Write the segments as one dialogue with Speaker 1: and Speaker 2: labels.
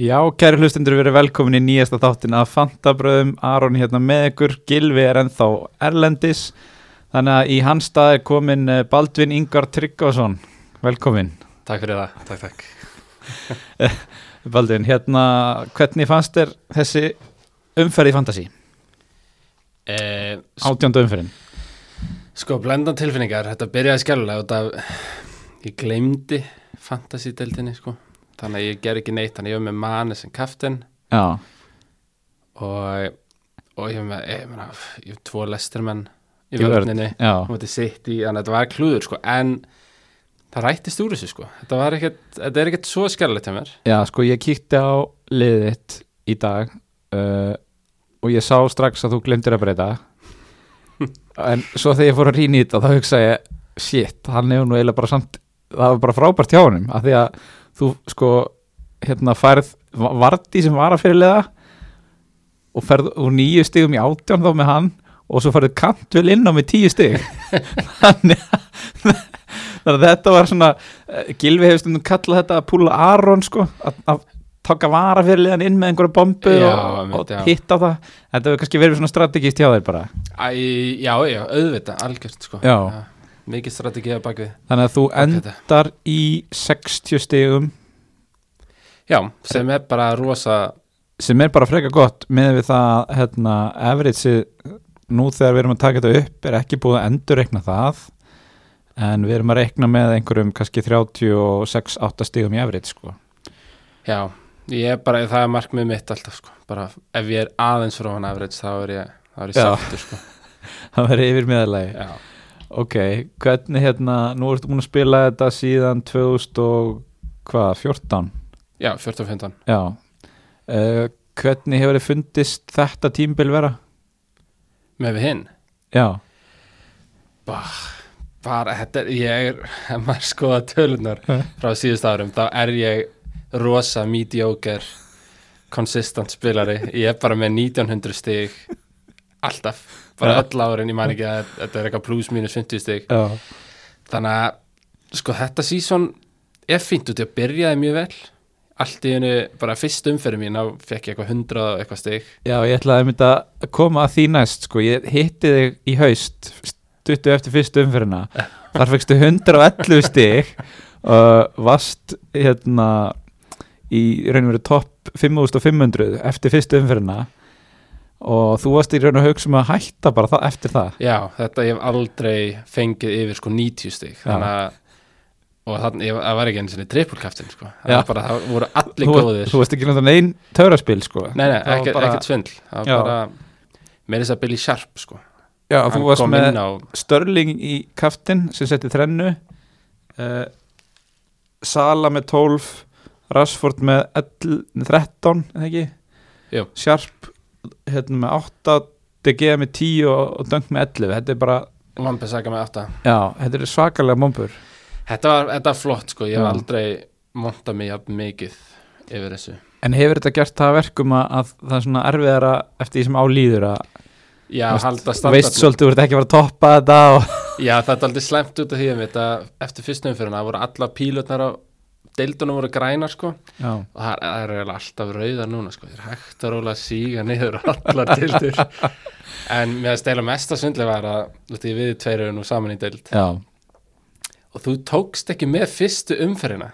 Speaker 1: Já, kæri hlustendur, við erum velkomin í nýjasta þáttin af Fantabröðum, Aron hérna með ykkur, Gilvi er ennþá Erlendis, þannig að í hans stað er komin eh, Baldvin Ingar Tryggvason, velkomin.
Speaker 2: Takk fyrir það, takk, takk.
Speaker 1: Baldvin, hérna, hvernig fannst þér þessi umferð í Fantasí,
Speaker 2: Eh,
Speaker 1: átjöndu umferðin?
Speaker 2: sko, blendan tilfinningar, þetta byrjaði skjálflega út af, ég gleymdi fantasy-deldinni, sko. Þannig að ég ger ekki neitt, þannig að ég var með manni sem kaftin
Speaker 1: Já,
Speaker 2: og, og ég var með, ég meina, ég var tvo lestirmenn
Speaker 1: Í
Speaker 2: í
Speaker 1: vörn.
Speaker 2: vörninni.
Speaker 1: já,
Speaker 2: Hún veit, sitt í, þannig að þetta var klúður, sko, en það rættist úr þessu, sko. Þetta var ekkert, þetta er ekkert svo skjálflega til mér.
Speaker 1: já, sko, ég kíkti á liðið þitt í dag uh, og ég sá strax að þú glemtir að breyta, en svo þegar ég fór að rýna í þetta, þá hugsa ég, shit, hann hefur nú eiginlega bara samt það var bara frábært hjá honum af því að þú sko hérna færð Vardí sem var að fyrirlega og ferð úr nýju stigum í átján þá með hann og svo færðu kantvel inn á með tíu stig þannig að þannig að þetta var svona eh, Gylfi hefur stundum kallað þetta að púla Aron sko að, að taka vara fyrirlegan inn með einhverju bombu
Speaker 2: Já,
Speaker 1: og,
Speaker 2: einmitt,
Speaker 1: og
Speaker 2: já.
Speaker 1: hitta á það þetta hefur kannski verið svona strategist hjá þér bara
Speaker 2: Æ, já, já, auðvitað, algjört, sko.
Speaker 1: Já.
Speaker 2: Mikið strategið að bakvið.
Speaker 1: Þannig að þú
Speaker 2: þetta.
Speaker 1: endar í 60 stigum
Speaker 2: Já, sem er bara rosa
Speaker 1: sem er bara freka gott með við það hérna, average nú þegar við erum að taka þetta upp er ekki búið að endurreikna það en við erum að reikna með einhverjum kannski 36-8 stigum í average sko.
Speaker 2: Já, ég er bara, það er markmið mitt alltaf sko, bara ef ég er aðeins frá hann afrið þá er ég, þá er ég
Speaker 1: Já.
Speaker 2: sáttur sko
Speaker 1: það verður yfir meðalagi
Speaker 2: Já,
Speaker 1: ok, hvernig hérna, nú ertu búin að spila þetta síðan 2014
Speaker 2: já 14-15
Speaker 1: já uh, hvernig hefur þið fundist þetta tímbil vera?
Speaker 2: Með við hinn,
Speaker 1: Já,
Speaker 2: bara þetta er, ég er, ef maður skoða tölunar
Speaker 1: Já.
Speaker 2: frá síðust árum, þá er ég rosa mediocre konsistant spilari, ég er bara með 1900 stig alltaf, bara
Speaker 1: Já.
Speaker 2: öll árin, ég man ekki að þetta er eitthvað plus minus 50 stig
Speaker 1: já,
Speaker 2: þannig að sko þetta sísón er fínt út í að byrjaði mjög vel allt í hennu, bara fyrst umferði mín þá fekk ég eitthvað hundra og eitthvað stig
Speaker 1: Já, ég ætlaði einmitt að koma að því næst sko. ég hitti þig í haust stuttu eftir fyrstu umfyrirna
Speaker 2: Eh.
Speaker 1: þar fegstu 111 stig uh, vast hérna í raun og veru topp 5500 eftir fyrstu umfyrirna og þú varst í raun og hugsa um að hætta bara það, eftir það
Speaker 2: já, þetta ég hef aldrei fengið yfir sko 90 stig þannig að og þannig, ég, það var ekki einu sinni trippulkaftin sko. það,
Speaker 1: Já.
Speaker 2: var bara, það voru allir
Speaker 1: þú,
Speaker 2: góðir
Speaker 1: þú varst ekki náttúrulega einn töfraspil sko.
Speaker 2: nei, nei,
Speaker 1: Það var
Speaker 2: ekkert
Speaker 1: bara-
Speaker 2: bara... svindl það
Speaker 1: Já.
Speaker 2: var bara, með þess að Billy Sharp sko.
Speaker 1: Já, þú
Speaker 2: hann
Speaker 1: varst
Speaker 2: kom
Speaker 1: með
Speaker 2: inn á
Speaker 1: Störling í kaftin sem setti þrennu uh, Sala með 12 Rashford með 11, 13 eða ekki
Speaker 2: Jú.
Speaker 1: Sharp hérna, með 8 De Gea með 10 og, og Dunk með 11 þetta er bara,
Speaker 2: Lampisaka með 8
Speaker 1: já, þetta er svakalega mombur
Speaker 2: þetta var, þetta var flott sko, ég hef
Speaker 1: Já.
Speaker 2: aldrei monta mig jafn mikið yfir þessu
Speaker 1: en hefur þetta gert það að verkum að, að það er svona erfiðara eftir því sem álýður að
Speaker 2: já,
Speaker 1: Veist-
Speaker 2: halda
Speaker 1: þú
Speaker 2: standart
Speaker 1: veist svolítið þú ert ekki að fara að toppa þetta og,
Speaker 2: Já, það er aldrei slæmt út af því að þetta eftir fyrstum fyrir það voru alla pílutnar á deildunum voru grænar sko og
Speaker 1: já,
Speaker 2: það er- það eru eiginlega alltaf rauðar núna sko, það er hægt að róla að síga niður allar deildur en mér að stela mesta svindli var að þú veist, við tveir eru nú saman í deild
Speaker 1: já
Speaker 2: og þú tókst ekki með fyrstu umferðina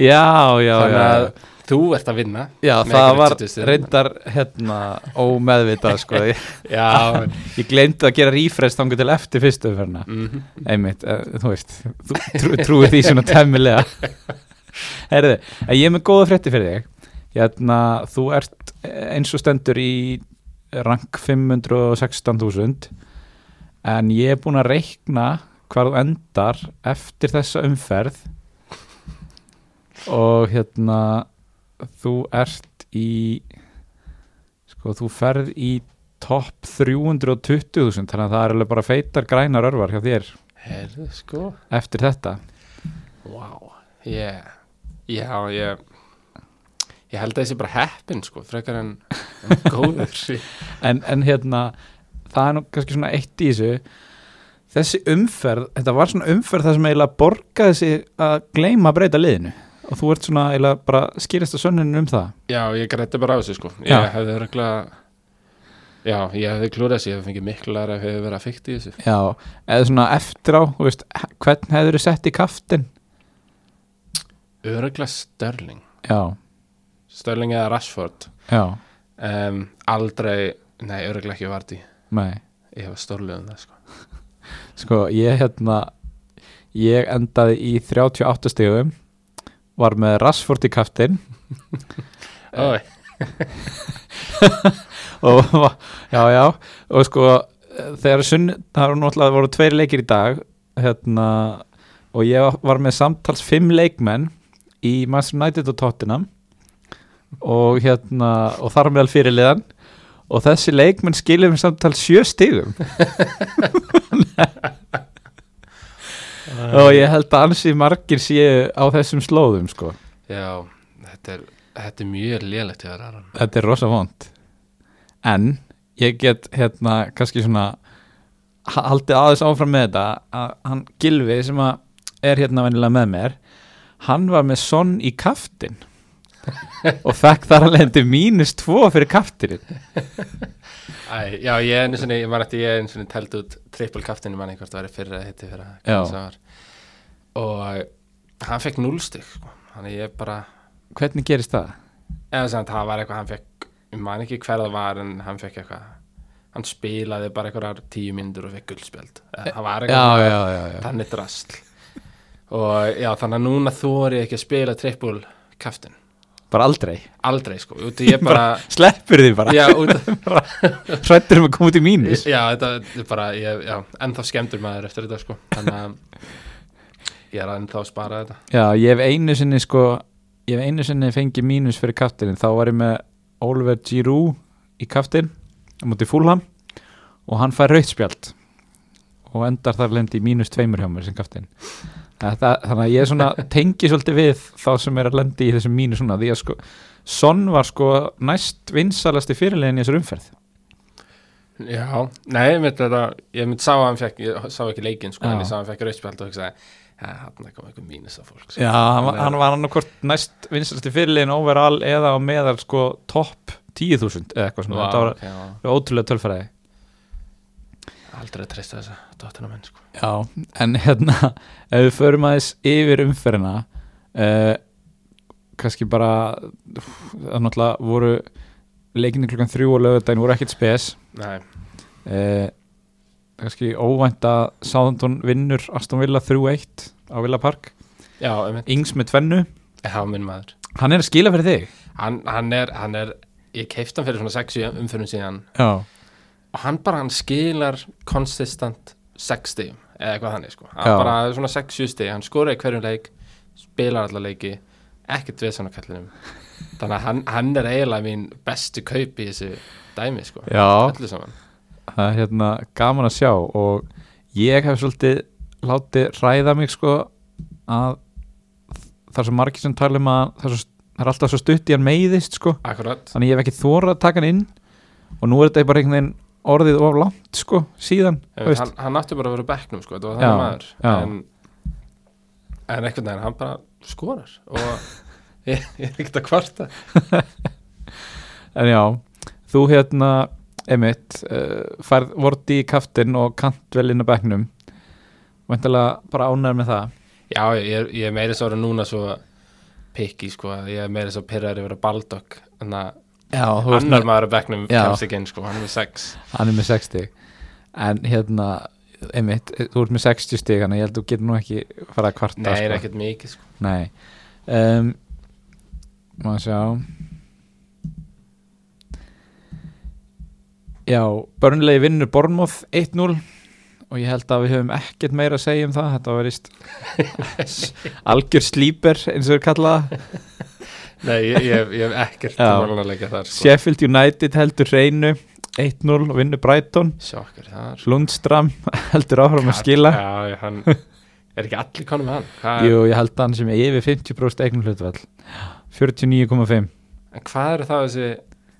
Speaker 1: já, já,
Speaker 2: þannig
Speaker 1: já,
Speaker 2: að þú ert að vinna
Speaker 1: já
Speaker 2: með
Speaker 1: það
Speaker 2: einhverjum
Speaker 1: var
Speaker 2: 20 stigum.
Speaker 1: reyndar hérna ómeðvitað sko ég
Speaker 2: Já, en-
Speaker 1: Ég glemdi að gera refresh þangu til eftir fyrstu umferðina
Speaker 2: mhm.
Speaker 1: Einmitt, eh, þú veist Þú trú, trúir því svona temmilega Herðu, en ég er með góða frétti fyrir þig Hérna, þú ert eh, eins og stendur í rank 516.000 En ég er búin að reikna hvar þú endar eftir þessa umferð Og hérna, þú ert í Sko, þú ferð í topp 320.000 þannig að það er alveg bara feitar grænar örvar hjá þér
Speaker 2: Herðu sko
Speaker 1: eftir þetta
Speaker 2: Vá, ég, já, ég, ég held að þessi bara heppin, sko, frekar en, en góður.
Speaker 1: en, en hérna, það er nú kannski svona eitt í þessu þessi umferð, þetta var svona umferð þar sem eiginlega borgaði sig að gleyma að breyta liðinu og þú ert svona eiginlega bara skýrist að sönninu um það
Speaker 2: Já, ég grætti bara á þessu sko Ég
Speaker 1: Já.
Speaker 2: hefði örgulega Já, ég hefði klúrað þessu, ég hefði fengið miklaðar ef ég hefði verið að fykta í þessu
Speaker 1: já, eða svona eftir á þú veist, h- hvern hefur þið sett í kaftin
Speaker 2: Örgulega Störling
Speaker 1: já,
Speaker 2: Störling eða Rashford
Speaker 1: já,
Speaker 2: um, Aldrei, nei, örgulega ekki Vardí
Speaker 1: nei
Speaker 2: Ég hef stórlega um það sko
Speaker 1: sko, ég hérna ég endaði í 38 stegum var með Rashford í kaftin
Speaker 2: Ói,
Speaker 1: og já, já og sko, þegar sunn það eru náttúrulega voru tveir leikir í dag hérna, og ég var með samtals fimm leikmenn í Manchester United og Tottenham og hérna og þar á meðal fyrirliðan og þessi leikmenn skilur mér samtals sjö stigum og ég held að ansi margir séu á þessum slóðum sko,
Speaker 2: Já, þetta er, þetta er mjög lélegt hjá þér, Aron.
Speaker 1: þetta er rosa vond en ég get hérna kannski svona ha- haldið aðeins áfram með þetta að hann Gilvi sem að er hérna venilega með mér hann var með sonn í kaftin og fekk þar að lendi mínus tvo fyrir kaftin
Speaker 2: Æ, já, ég einu sinni, ég man eftir, ég einu sinni telt út triple kaftinu manni hvort það væri fyrra að hitti fyrra.
Speaker 1: Já.
Speaker 2: hvernig sem var. Og hann fekk núlstig, sko. Þannig ég bara,
Speaker 1: hvernig gerist það?
Speaker 2: eða sem það var eitthvað, hann fekk, ég man ekki hver það var, en hann fekk eitthvað, hann spilaði bara eitthvað tíu myndur og fekk guldspjöld. Eh, Það var eitthvað,
Speaker 1: já, já,
Speaker 2: þannig drasl. Og já, þannig að núna þóri ég ekki að spila triple kaftin.
Speaker 1: bara aldrei
Speaker 2: Aldrei, sko. Út í ég bara,
Speaker 1: sleppur því bara,
Speaker 2: já, út
Speaker 1: hrættur um að koma út í mínus
Speaker 2: Já, þetta er bara, ég, já, ennþá skemmtur maður eftir þetta sko Þannig að ég er að ennþá að spara þetta
Speaker 1: Já, ég hef einu sinni sko ég hef einu sinni fengið mínus fyrir kaftin þá var ég með Oliver Giroud í kaftin á móti fúlham og hann fær rautspjald og endar þar lendi í mínus tveimur hjá mér sem kaftin Þetta, þannig að ég svona tengi svolítið við þá sem er að lendi í þessum mínus svona því að sko, Son var sko næst vinsalasti fyrirlegin í þessar umferð
Speaker 2: Já, nei, ég myndi þetta, ég myndi sá að hann fekk, ég sá ekki leikinn sko
Speaker 1: Já.
Speaker 2: En ég sá að hann fekk rauðspjald og hugsaði, ja, hann kom eitthvað mínus af fólk sko.
Speaker 1: Já, hann, var- hann var hann okkur næst vinsalasti fyrirlegin overall eða á meðal sko topp 10.000 eða eitthvað svona, þetta var
Speaker 2: ok, já,
Speaker 1: ótrúlega tölfræði
Speaker 2: aldrei að treysta þessa dóttina menn sko
Speaker 1: Já, en hérna ef við förum aðeins yfir umferðina uh, kannski bara úff, það náttúrulega voru leikinni klukkan þrjú og lögudaginn voru ekkert spes
Speaker 2: Nei,
Speaker 1: uh, kannski óvænt að Sáðantón vinnur Aston Villa 3-1 á Villa Park
Speaker 2: já, ég myndi,
Speaker 1: Yngs með tvennu,
Speaker 2: já, minn maður
Speaker 1: hann er að skila fyrir þig
Speaker 2: Hann, hann er, hann er, ég keifti hann fyrir svona 60 umfyrum síðan
Speaker 1: Já,
Speaker 2: og hann bara hann skilar konsistant 6 stíum eða eitthvað þannig sko, hann
Speaker 1: Já.
Speaker 2: bara er svona 6-7 stíum hann skorar í hverjum leik, spilar alla leiki ekkert við svona kallinum þannig að hann, hann er eiginlega mín bestu kaup í þessu dæmi sko
Speaker 1: Já.
Speaker 2: öllu saman
Speaker 1: það er hérna gaman að sjá og ég hef svolítið látið ræða mig sko að það er svo margir sem tala um að það er, svo, það er alltaf svo stutt í hann meiðist sko
Speaker 2: akkurat,
Speaker 1: þannig ég hef ekki þóra að taka hann inn og nú er þetta bara einhvern veginn orðið of langt sko síðan þú veist.
Speaker 2: hann, hann átti bara að vera á bekknum sko, þetta var
Speaker 1: Já,
Speaker 2: þannig maður
Speaker 1: já.
Speaker 2: en, en einhvern veginn hann bara skorar og ég, ég er ekkert að kvarta
Speaker 1: en já, þú hérna emitt, uh, færð vorti í kaftin og kant vel inn á bekknum veintilega bara ánæður með það
Speaker 2: Já, ég er, ég er meira svo að vera núna svo pikki, sko, að ég er meira svo pyrraður yfir að Baldok, en að
Speaker 1: já,
Speaker 2: annar maður að bekknum
Speaker 1: Já.
Speaker 2: kemst ekki inn, sko, hann er með sex.
Speaker 1: hann er með 60 en hérna, einmitt þú ert með 60 stig, þannig að ég held að þú getur nú ekki fara að kvarta
Speaker 2: Nei, er
Speaker 1: sko.
Speaker 2: ekkert mikið, sko.
Speaker 1: Nei. Um, maður sjá já, börnlegi vinnur Bornmoth 1-0 og ég held að við höfum ekkert meira að segja um það þetta var íst algjör slíper eins og við kallaða
Speaker 2: Nei, ég, ég, ég hef ekkert
Speaker 1: Já.
Speaker 2: málanleika þar, sko.
Speaker 1: Sheffield United heldur reynu 1-0 og vinnur Brighton
Speaker 2: Sjokkar þar.
Speaker 1: Lundstram heldur áfram að skila
Speaker 2: Já, ég, hann, er ekki allir konum með hann? Hvað,
Speaker 1: Jú, ég held að hann sem er yfir 50% eignum hlutvall 49,5
Speaker 2: en hvað eru þá þessi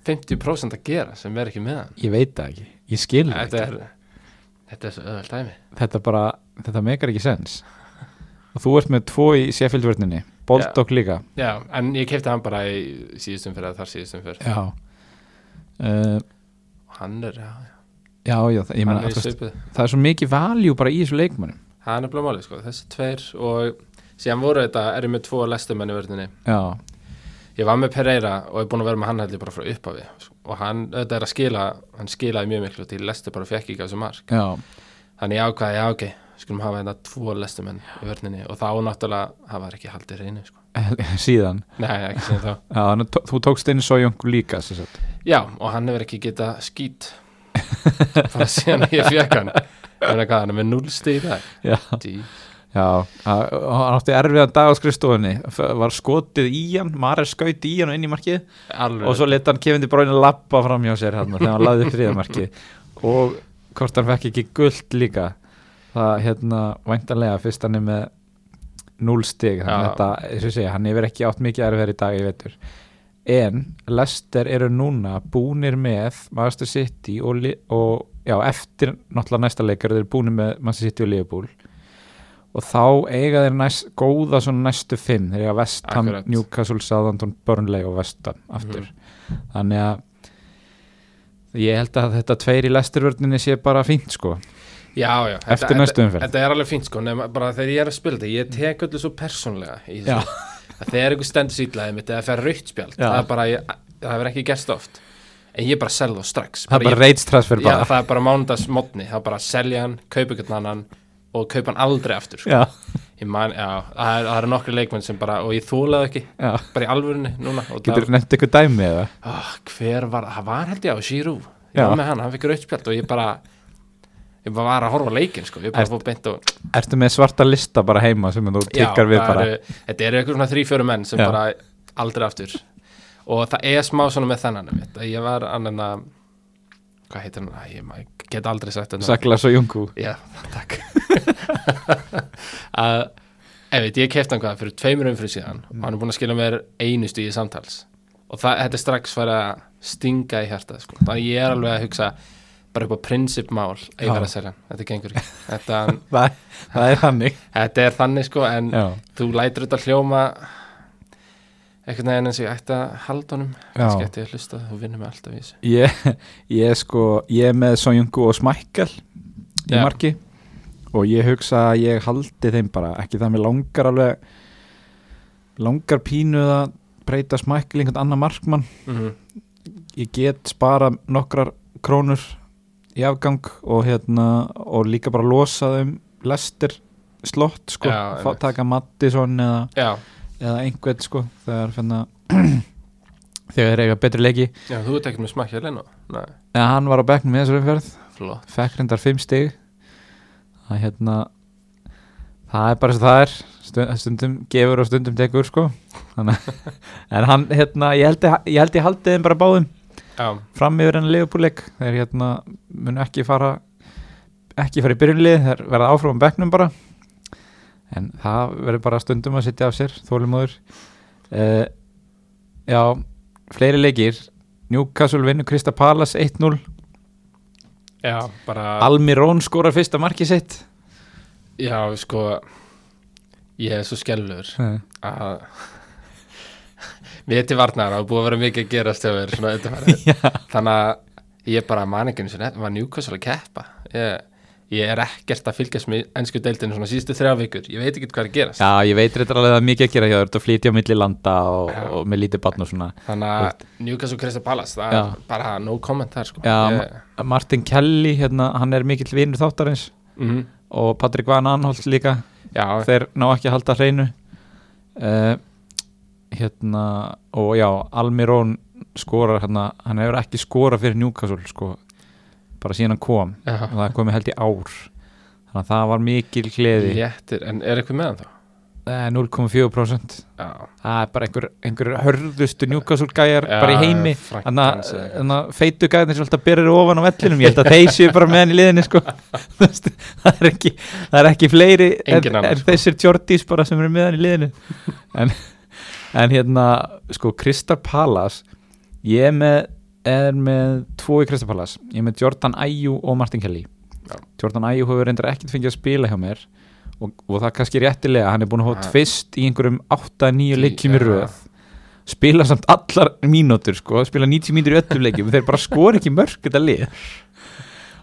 Speaker 2: 50% að gera sem er ekki með hann?
Speaker 1: Ég veit það ekki, ég skil það
Speaker 2: Þetta
Speaker 1: ekki
Speaker 2: er, þetta er svo öðvöld dæmi.
Speaker 1: Þetta bara, þetta mekar ekki sens Og þú ert með tvo í séfjöldvörninni Boldog líka
Speaker 2: Já, en ég kefti hann bara í síðustum fyrir að þar síðustum fyrir
Speaker 1: Já uh,
Speaker 2: og hann er, já, já,
Speaker 1: Já, já, það- ég
Speaker 2: hann
Speaker 1: meina
Speaker 2: er í
Speaker 1: þú veist,
Speaker 2: svipuð
Speaker 1: það er svo mikið valjú bara í þessu leikmannum
Speaker 2: hann er blómálið, sko, þessi tveir og síðan voru þetta, erum við tvo lestumenn í vörðinni,
Speaker 1: Já,
Speaker 2: ég var með Pereira og er búin að vera með hann heldur bara frá upphafi sko. og hann, þetta er að skila, hann skilaði mjög miklu til lestu bara fekk ekki á þessu mark
Speaker 1: já,
Speaker 2: þannig ég ákvaði, já, ok, skulum hafa þetta tvo lestumenn í vörðinni og þá náttúrulega hann var ekki haldið reynu, sko,
Speaker 1: Eh, síðan
Speaker 2: nei, ekki sem þá
Speaker 1: já, þannig að tó- Þú tókst inn Sojung líka sem sagt.
Speaker 2: Já, og hann hefur ekki geta skýt bara síðan ég fekk hann hann er hvað, hann er með núlstig í dag
Speaker 1: Já,
Speaker 2: Dí.
Speaker 1: já að- og hann átti erfiðan dag á skrifstofunni F- var skotið í hann, Mare skaut í hann og inn í markið
Speaker 2: alveg,
Speaker 1: og svo leta hann kefindi bráinu lappa fram hjá sér hann þegar hann laði upp þriðamarki og hvort hann fekk ekki gullt líka það hérna væntanlega fyrst hann er með 0 stig þannig
Speaker 2: Já.
Speaker 1: að þetta, eins og ég segja, hann hefur ekki átt mikið erfiðar í dag í vetur en Lester eru núna búnir með Master City og, Li- og já, eftir náttúrulega næsta leikar þeir eru búnir með Master City og Liverpool og þá eiga þeir næst, góða svona næstu fimm, þeir eiga Vestham,
Speaker 2: Akkurat.
Speaker 1: Newcastle, Southampton, Burnley og Vestham aftur,
Speaker 2: Mhm.
Speaker 1: þannig að ég held að þetta tveir í lesturvörninni sé bara fínt sko,
Speaker 2: já, já, þetta-
Speaker 1: eftir næstu
Speaker 2: þetta,
Speaker 1: umferð
Speaker 2: þetta er alveg fínt sko, nema bara þegar ég er að spila þetta ég tek öllu svo persónlega í
Speaker 1: Já.
Speaker 2: þessu. að þegar einhver stendur sýtlaði mitt eða fer rautt spjald,
Speaker 1: Já.
Speaker 2: það er bara ég, það hefur ekki gerst oft, en ég bara sel þá strax
Speaker 1: það er bara
Speaker 2: ég,
Speaker 1: reitstransfer
Speaker 2: já,
Speaker 1: bara
Speaker 2: það er bara mánudags mótni, það er bara að selja hann kaupa einhvern annan og kaupa hann aldrei aftur sko.
Speaker 1: já,
Speaker 2: Ég man, já, það er, það er nokkri leikmenn sem bara, og ég þólaði ekki
Speaker 1: já.
Speaker 2: bara í alvörunni núna og
Speaker 1: getur þú nefnt ykkur dæmi eða
Speaker 2: það, oh, hver var, það var held ég á Shirú ég
Speaker 1: Já.
Speaker 2: var með hann, hann fikk rautspjald og ég bara ég bara var að horfa á leikinn sko ég bara
Speaker 1: Ert-
Speaker 2: fór beint og
Speaker 1: ertu með svarta lista bara heima sem þú tikkar við
Speaker 2: það
Speaker 1: bara
Speaker 2: eru- þetta eru eitthvað svona þrý-fjöru menn sem
Speaker 1: Já.
Speaker 2: bara aldrei aftur og það er smá svona með þennan einmitt, að ég var annan að hvað heitir hann, Æ, ég ma- get aldrei sagt þetta
Speaker 1: sakla svo jungu
Speaker 2: Já, takk að, Ef veit, ég kefti hann hvað fyrir tveimur umfyrir síðan og hann er búin að skila mér einu stíði samtals og það, þetta er strax farið að stinga í hjartað sko. þannig ég er alveg að hugsa bara upp á prinsipmál að ég
Speaker 1: Já.
Speaker 2: verð að selja hann, þetta gengur ekki þetta,
Speaker 1: það, það er hannig
Speaker 2: þetta er þannig sko en
Speaker 1: já,
Speaker 2: þú lætur þetta hljóma einhvern veginn eins og ég ætti að halda honum kannski ætti ég að hlusta, þú vinnur mig alltaf í þessu
Speaker 1: ég, ég sko ég er með Sonjungu og Smækkel í
Speaker 2: Já.
Speaker 1: marki og ég hugsa að ég haldi þeim bara ekki það mér langar alveg langar pínuð að breyta Smækkel í einhvern annan markmann
Speaker 2: mm
Speaker 1: ég get spara nokkrar krónur í afgang og hérna og líka bara losa þeim lestir slott sko,
Speaker 2: Já,
Speaker 1: Fá,
Speaker 2: einmitt.
Speaker 1: taka Mattisson eða,
Speaker 2: Já,
Speaker 1: eða einhvern sko þegar finna þegar þeir eiga betri leiki
Speaker 2: já, þú ert ekkert með smakkja leina Nei,
Speaker 1: en hann var á bekknum með þessar umferð
Speaker 2: flott
Speaker 1: fekk reyndar 5 stig það hérna það er bara svo það er Stund- stundum gefur og stundum tekur sko þannig að- en hann hérna ég held ég, ég, held ég haldið þeim bara báðum
Speaker 2: Já,
Speaker 1: fram yfir enn liðbúleik þeir hérna munu ekki fara ekki fara í byrjunlið þeir verða áfram á bekknum bara en það verður bara stundum að sitja af sér þólumóður uh, já, fleiri leikir Newcastle vinnur Krista Palace 1-0
Speaker 2: já, bara
Speaker 1: Almirón skorar fyrsta markið sitt
Speaker 2: Já, sko ég er svo skellur að mér til varnar að búið að vera mikið að gerast hjá mér svona undanfarið. þannig að ég bara man ekki eins og nefn var Newcastle að keppa ég, ég er ekkert að fylgjast með ennsku deildinu svona síðustu þrjá vikur ég veit ekki hvað er að gerast
Speaker 1: Já, ég veit reyndar alveg að það er mikið að gera hjá þér Þú ert að flytja á milli landa og,
Speaker 2: Já.
Speaker 1: og með lítið barn og svona
Speaker 2: þannig að Newcastle Crystal Palace það
Speaker 1: Já.
Speaker 2: er bara no comment þar sko
Speaker 1: Já,
Speaker 2: ég,
Speaker 1: Martin Kelly, hérna, hann er mikill vinur þáttarins
Speaker 2: mm,
Speaker 1: og Patrik Van Anholt líka
Speaker 2: já,
Speaker 1: þeir ná ekki að halda hreinu uh, hérna og já, Almirón skorar hérna, hann hefur ekki skorað fyrir Newcastle sko, bara síðan hann kom og
Speaker 2: já
Speaker 1: það komið held í ár þannig að það var mikil gleði Eh,
Speaker 2: léttir, en er eitthvað með hann þá?
Speaker 1: yeah. 0,4%
Speaker 2: Já,
Speaker 1: það er bara einhver, einhver hörðustu Newcastle gæjar
Speaker 2: Já,
Speaker 1: bara í heimi
Speaker 2: Frank Hans eða eitthvað.
Speaker 1: þannig að feitu gæjarnir sem alltaf byrjar ofan á vellinum ég held að þeir séu bara með hann í liðinni sko. Þú veist, það, er ekki, það er ekki fleiri en,
Speaker 2: Enginn annar, sko.
Speaker 1: en þessir tjordís bara sem eru með hann í liðinu en, en hérna sko Kristar Palas ég er með, er með tvo í Kristar Palas ég er með Jordan Ayew og Martin Kelly
Speaker 2: Já.
Speaker 1: Jordan Ayew hefur reyndar ekkert fengið að spila hjá mér og, og það er kannski réttilega hann er búin að
Speaker 2: Ja.
Speaker 1: fá tvist í einhverjum 8-9 leikjum í
Speaker 2: Ja.
Speaker 1: röð eh, spila samt allar mínútur sko, spila 90 mínútur í öllum leikjum þeir bara skora ekki mörg þetta lið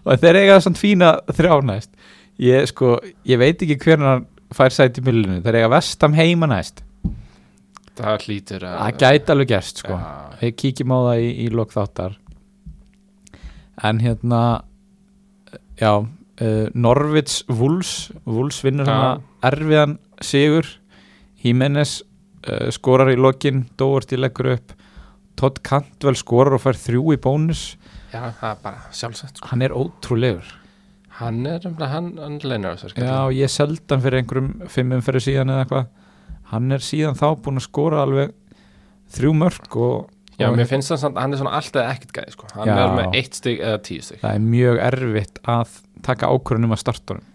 Speaker 1: og þeir eiga samt fína þrjá næst ég sko, ég veit ekki hvernig hann fær sæti í millinu, þeir eiga vestam heima næst
Speaker 2: það hlýtur að
Speaker 1: það gæti alveg gerst sko
Speaker 2: Já.
Speaker 1: við kíkjum á það í, í lok þáttar en hérna já uh, Norvits Wools Wools vinnur
Speaker 2: Já.
Speaker 1: hann erfiðan sigur Jimenez uh, skorar í lokin Dóorti leggur upp Todd Cantwell skorar og fær þrjú í bónus
Speaker 2: já, það er bara sjálfsagt sko.
Speaker 1: hann er ótrúlegur
Speaker 2: hann er, um, hann, hann leinar þessar
Speaker 1: já ég seldi hann fyrir einhverjum fimmum fyrir síðan eða eitthvað hann er síðan þá búin að skora alveg þrjú mörg og,
Speaker 2: já,
Speaker 1: og
Speaker 2: mér finnst það samt, hann er svona alltaf ekkert gæði sko. hann
Speaker 1: Já.
Speaker 2: er með eitt stygg eða tíu stygg
Speaker 1: það er mjög erfitt að taka ákvörðunum að starta honum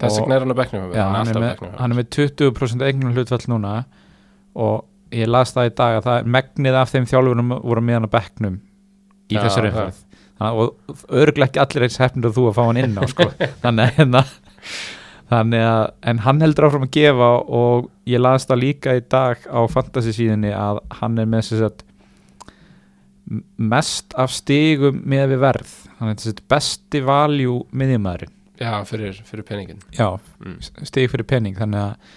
Speaker 2: þess
Speaker 1: Og-
Speaker 2: vegna er hann á bekknum hjá mér,
Speaker 1: Já,
Speaker 2: hann er
Speaker 1: hann, er
Speaker 2: alltaf á
Speaker 1: með,
Speaker 2: bekknum hjá mér.
Speaker 1: hann er með 20% eignum hlutfall núna og ég las það í dag að það er megnið af þeim þjálfurum voru með hann á bekknum í
Speaker 2: Já,
Speaker 1: þessari
Speaker 2: já.
Speaker 1: umferð Þannig að- og örglega ekki allir eins hefnir að þú að fá hann inn á sko. þannig að hérna, þannig að en hann heldur áfram að gefa og ég las það líka í dag á fantasy síðinni að hann er með sér sett mest af stigum með við verð hann er sér sett besti valjú miðjumæður
Speaker 2: já, fyrir, fyrir peningin
Speaker 1: já,
Speaker 2: Mm.
Speaker 1: stig fyrir pening þannig að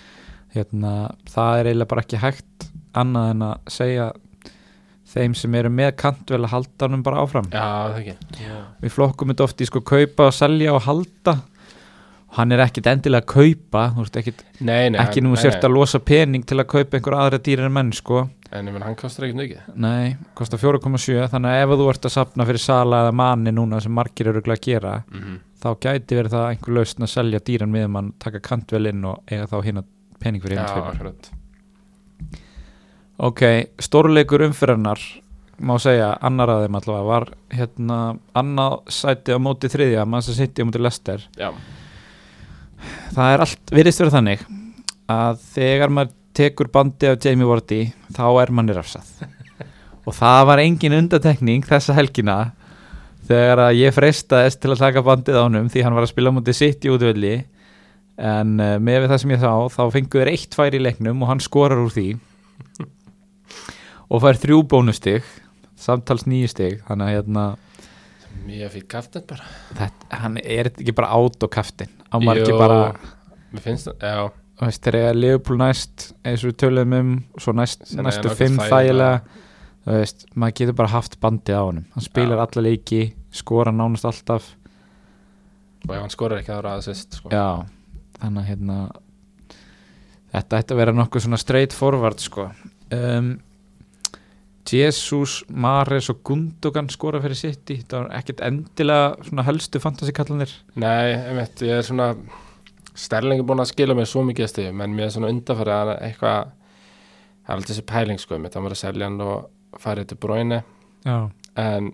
Speaker 1: hérna, það er eiginlega bara ekki hægt annað en að segja þeim sem eru með kantvel að halda honum bara áfram
Speaker 2: já, það ekki já,
Speaker 1: við flokkum þetta oft í sko kaupa og selja og halda hann er ekkit endilega að kaupa þú veist, ekkit,
Speaker 2: nei, nei,
Speaker 1: ekki nú sért að losa pening til að kaupa einhver aðra dýrar en menn sko
Speaker 2: en ég menn hann kostar ekkert mikið
Speaker 1: nei, kostar 4,7 þannig að ef þú ert að sapna fyrir sala eða manni núna sem margir eru örugglega að gera
Speaker 2: Mhm.
Speaker 1: þá gæti verið það einhver lausn að selja dýran við mann, taka kantvel inn og eiga þá hérna pening fyrir
Speaker 2: já,
Speaker 1: hinn tveimur
Speaker 2: akkurat
Speaker 1: ok, stórleikur umfyrirnar má segja, annar að þeim allavega var hérna, annað sæti á móti þriðja, mann sem sitti á móti lester
Speaker 2: já,
Speaker 1: það er allt, virðist verið þannig að þegar maður tekur bandi af Jamie Vardy, þá er manni rafsað og það var engin undatekning þessa helgina þegar að ég freistaðist til að taka bandið á honum því hann var að spila á móti sitt í útvöldi en uh, með við það sem ég sá þá fengu þeir eitt færi í leiknum og hann skorar úr því og fær þrjú bónustig samtals nýju stig þannig að hérna,
Speaker 2: ég fikk gaft þetta bara
Speaker 1: þetta, hann er þetta ekki bara át og kaftin á margi
Speaker 2: Jú,
Speaker 1: bara
Speaker 2: mér finnst það, já
Speaker 1: Þú veist, þeir eiga Liverpool næst eins og við töluðum um svo næst,
Speaker 2: Sem
Speaker 1: næstu
Speaker 2: eiga
Speaker 1: fimm
Speaker 2: nokkuð
Speaker 1: þægilega
Speaker 2: þægilega.
Speaker 1: þú veist, maður getur bara haft bandið á honum hann spilar
Speaker 2: Já.
Speaker 1: alla leiki, skora nánast alltaf
Speaker 2: og ef hann skorar ekki þá er það að sýst sko.
Speaker 1: já, þannig að hérna þetta ætti að vera nokkuð svona straight forward sko um, Jesus, Mares og Gundogan skora fyrir City þetta var ekkert endilega svona helstu fantasykallanir
Speaker 2: Nei, einmitt, ég er svona Sterling er búin að skila mér svo mikið stíðum en mér er svona undanfærið að hann er eitthvað það er alltaf þessi pæling sko mitt, hann var að selja hann og farið til bróinu
Speaker 1: já,
Speaker 2: en,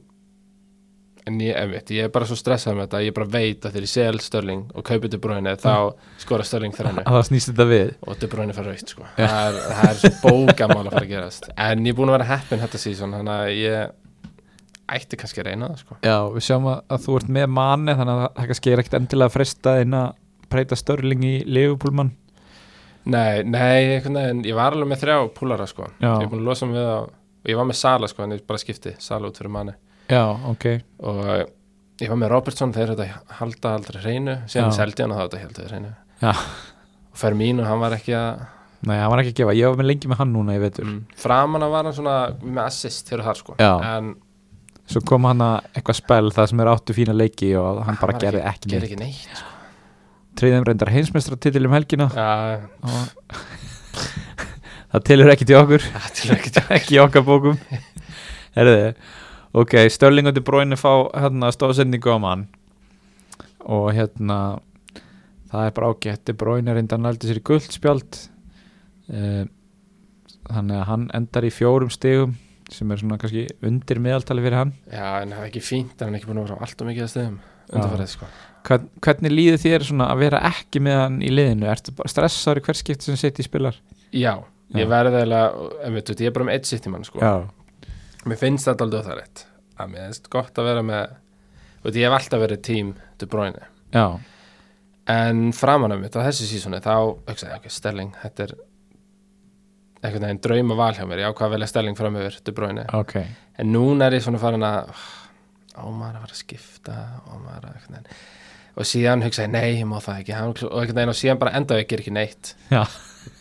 Speaker 2: en ég, einmitt, ég er bara svo stressað með þetta ég bara veit að þegar ég sel Sterling og kaupi til bróinu þá skora Sterling þrannu
Speaker 1: að það snýst þetta við
Speaker 2: og til bróinu fara raukt sko það er, það er svo bókamál að fara að gerast en ég er búin að vera heppin þetta síðan þannig að ég ætti kannski að reyna það sko
Speaker 1: Já, við sjáum að, að þú ert með manni þannig að það kannski er ekkert endilega frestað inn að breyta störling í Liverpoolmann
Speaker 2: Nei, nei, einhvern veginn, ég var alveg með þrjá púlara sko,
Speaker 1: Já.
Speaker 2: ég er búin að losa mig við það og ég var með Sala sko, en ég bara skipti Sala út fyrir manni
Speaker 1: Já, ok
Speaker 2: og ég var með Robertson þegar þetta halda aldrei hreinu, síðan
Speaker 1: Já.
Speaker 2: seldi hann og þá þetta heldur hreinu
Speaker 1: Já.
Speaker 2: og Fermín og hann var ekki að
Speaker 1: Nei, hann var ekki að gefa, ég var með lengi með hann núna, ég veitur
Speaker 2: mm, framan að var hann svona með assist hér og þar sko,
Speaker 1: Já.
Speaker 2: en
Speaker 1: Svo kom hann að eitthvað spell það sem er áttu fína leiki og hann bara
Speaker 2: var
Speaker 1: gerði ekki neitt
Speaker 2: gerði ekki neitt sko.
Speaker 1: Treyðum reyndar heimsmeistra um helgina
Speaker 2: Já,
Speaker 1: og það tilur ekki til okkur
Speaker 2: þetta er ekki
Speaker 1: ekki í okkar bókum Herðu, ok, Störling og De Bruyne fá hérna stóðsendingu á mann og hérna það er bara ágætt, De Bruyne reyndan aldrei sér í guldspjald uh, þannig að hann endar í fjórum stigum sem er svona kannski undir meðaltali fyrir hann
Speaker 2: Já, en það er ekki fínt, hann er ekki búin að vera á allt og mikið að stöðum undanfarið sko
Speaker 1: Hvern, hvernig líður þér svona að vera ekki með hann í liðinu, ertu bara stressaður í hver skipt sem sitt í spilar?
Speaker 2: Já,
Speaker 1: Já.
Speaker 2: ég verði eiginlega, en veit, ég er bara með eitt sitt í mann sko
Speaker 1: Já,
Speaker 2: Mér finnst þetta aldrei óþægilegt að mér finnst gott að vera með veit, ég hef alltaf verið tím til bróinu
Speaker 1: já,
Speaker 2: en framan af mitt á þessu sísoni þá hugsaði ég, ok, Sterling, þetta er einhvern veginn drauma val hjá mér ég ákvað að velja Sterling fram yfir De Bruyne
Speaker 1: ok,
Speaker 2: en núna er ég svona farin að ah, á maður að fara að skipta á maður að einhvern veginn og síðan hugsaði, nei, ég má það ekki hann, og einhvern veginn og síðan bara enda ekki ekki neitt
Speaker 1: já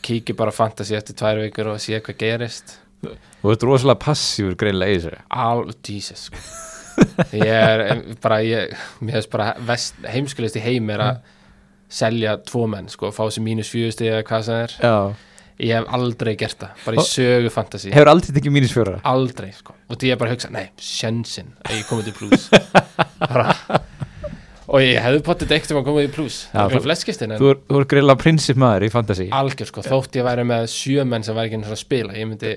Speaker 2: kíkja bara á fantasy eftir tvær vikur og sé hvað gerist
Speaker 1: og þetta er rosalega passífur greinlega í þessu
Speaker 2: all, Jesus sko. ég er em, bara ég, mér hefst bara vest, heimskulist í heim er
Speaker 1: Mm.
Speaker 2: að selja tvo menn sko, fá sér mínus fjöðust eða hvað sem er
Speaker 1: já,
Speaker 2: ég hef aldrei gert það, bara í sögu fantasy
Speaker 1: hefur aldrei tekið mínus fjóra
Speaker 2: aldrei, sko, og því ég bara hugsa nei, sjönsinn að ég komið til plus bara og ég hefði potið eitt um að komið í plus
Speaker 1: Já,
Speaker 2: það
Speaker 1: þú-
Speaker 2: er fleskistinn, en
Speaker 1: þú er, þú er greinlega prinsip maður í fantasy
Speaker 2: algjör sko, þótt ég væri með sjö menn sem væri ekki einu sinni að spila, ég myndi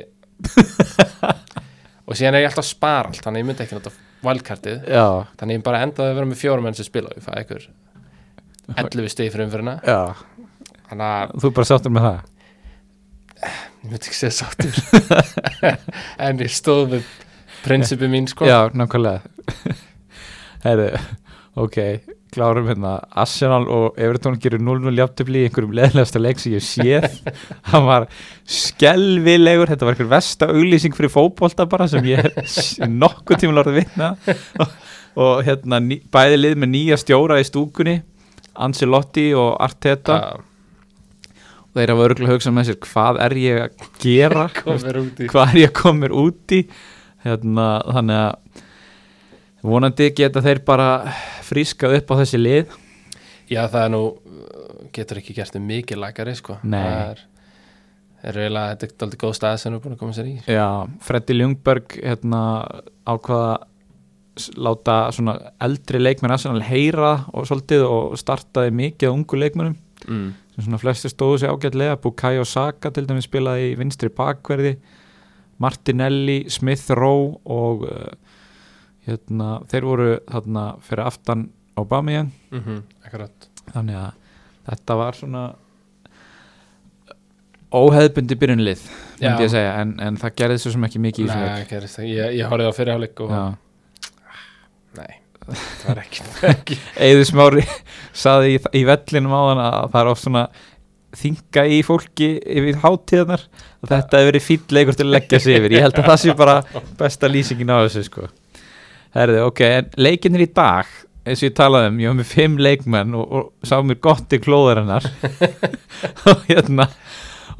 Speaker 2: og síðan er ég alltaf að spara allt, þannig ég myndi ekki nota valkartið
Speaker 1: já,
Speaker 2: þannig ég bara endaði að vera með fjórum menn sem spila og ég fæði ykkur 11 stegi fyrir umfyrirna
Speaker 1: já,
Speaker 2: þannig að
Speaker 1: þú er bara sáttur með það
Speaker 2: ég myndi ekki segja sáttur en ég stóð við prinsipi mín sko
Speaker 1: já, nákvæmlega herru, ok klárum hérna, Arsenal og Everton gerir 0-0 jafntefli í einhverjum leðlegasta leik sem ég hef séð hann var skelvilegur, þetta var einhver vesta auglýsing fyrir fótbolta bara sem ég hef nokkuð tíma lorðið vitna og, og hérna, ný, bæði lið með nýja stjóra í stúkunni Ancelotti og Arteta
Speaker 2: að
Speaker 1: og þeir hafa örgulega hugsað með sér hvað er ég að gera
Speaker 2: koma út í
Speaker 1: hvað er ég að koma mér út í hérna, þannig að vonandi geta þeir bara frískað upp á þessi lið
Speaker 2: já það er nú uh, getur ekki gert þau mikið lagari sko
Speaker 1: Nei.
Speaker 2: það er, er reyla, þetta er aldrei góð stað sem við erum búin að koma sér í
Speaker 1: Já, Freddy Ljungberg hérna, ákvaða s- láta svona eldri leikmenn Arsenal heyra og svolítið og startaði mikið á ungu leikmennum
Speaker 2: mm.
Speaker 1: sem svona flesti stóðu sig ágætlega Bukayo Saka til dæmis spilaði í vinstri bakverði Martinelli, Smith Rowe og uh, hérna, þeir voru þarna fyrir aftan Aubameyang
Speaker 2: Mm akkurat
Speaker 1: þannig að þetta var svona óheðbundi byrjunlið myndi
Speaker 2: Já.
Speaker 1: ég segja, en, en það gerði svo sem ekki mikið í þessum
Speaker 2: Nei, sko. gerist það. ég, ég horfði á fyrirháleik og
Speaker 1: leik
Speaker 2: nei, það var ekki, ekki.
Speaker 1: Eður Smári saði í, í vellinum á hann að það er oft svona þinga í fólki yfir hátíðanar að þetta hefur verið fýll leikur til að leggja sig yfir ég held að það sé bara besta lýsingin á þessu sko Herði, ok, en leikinnir í dag eins og ég talaði um, ég var með fimm leikmenn og, og sá mér gott í klóðar hennar og hérna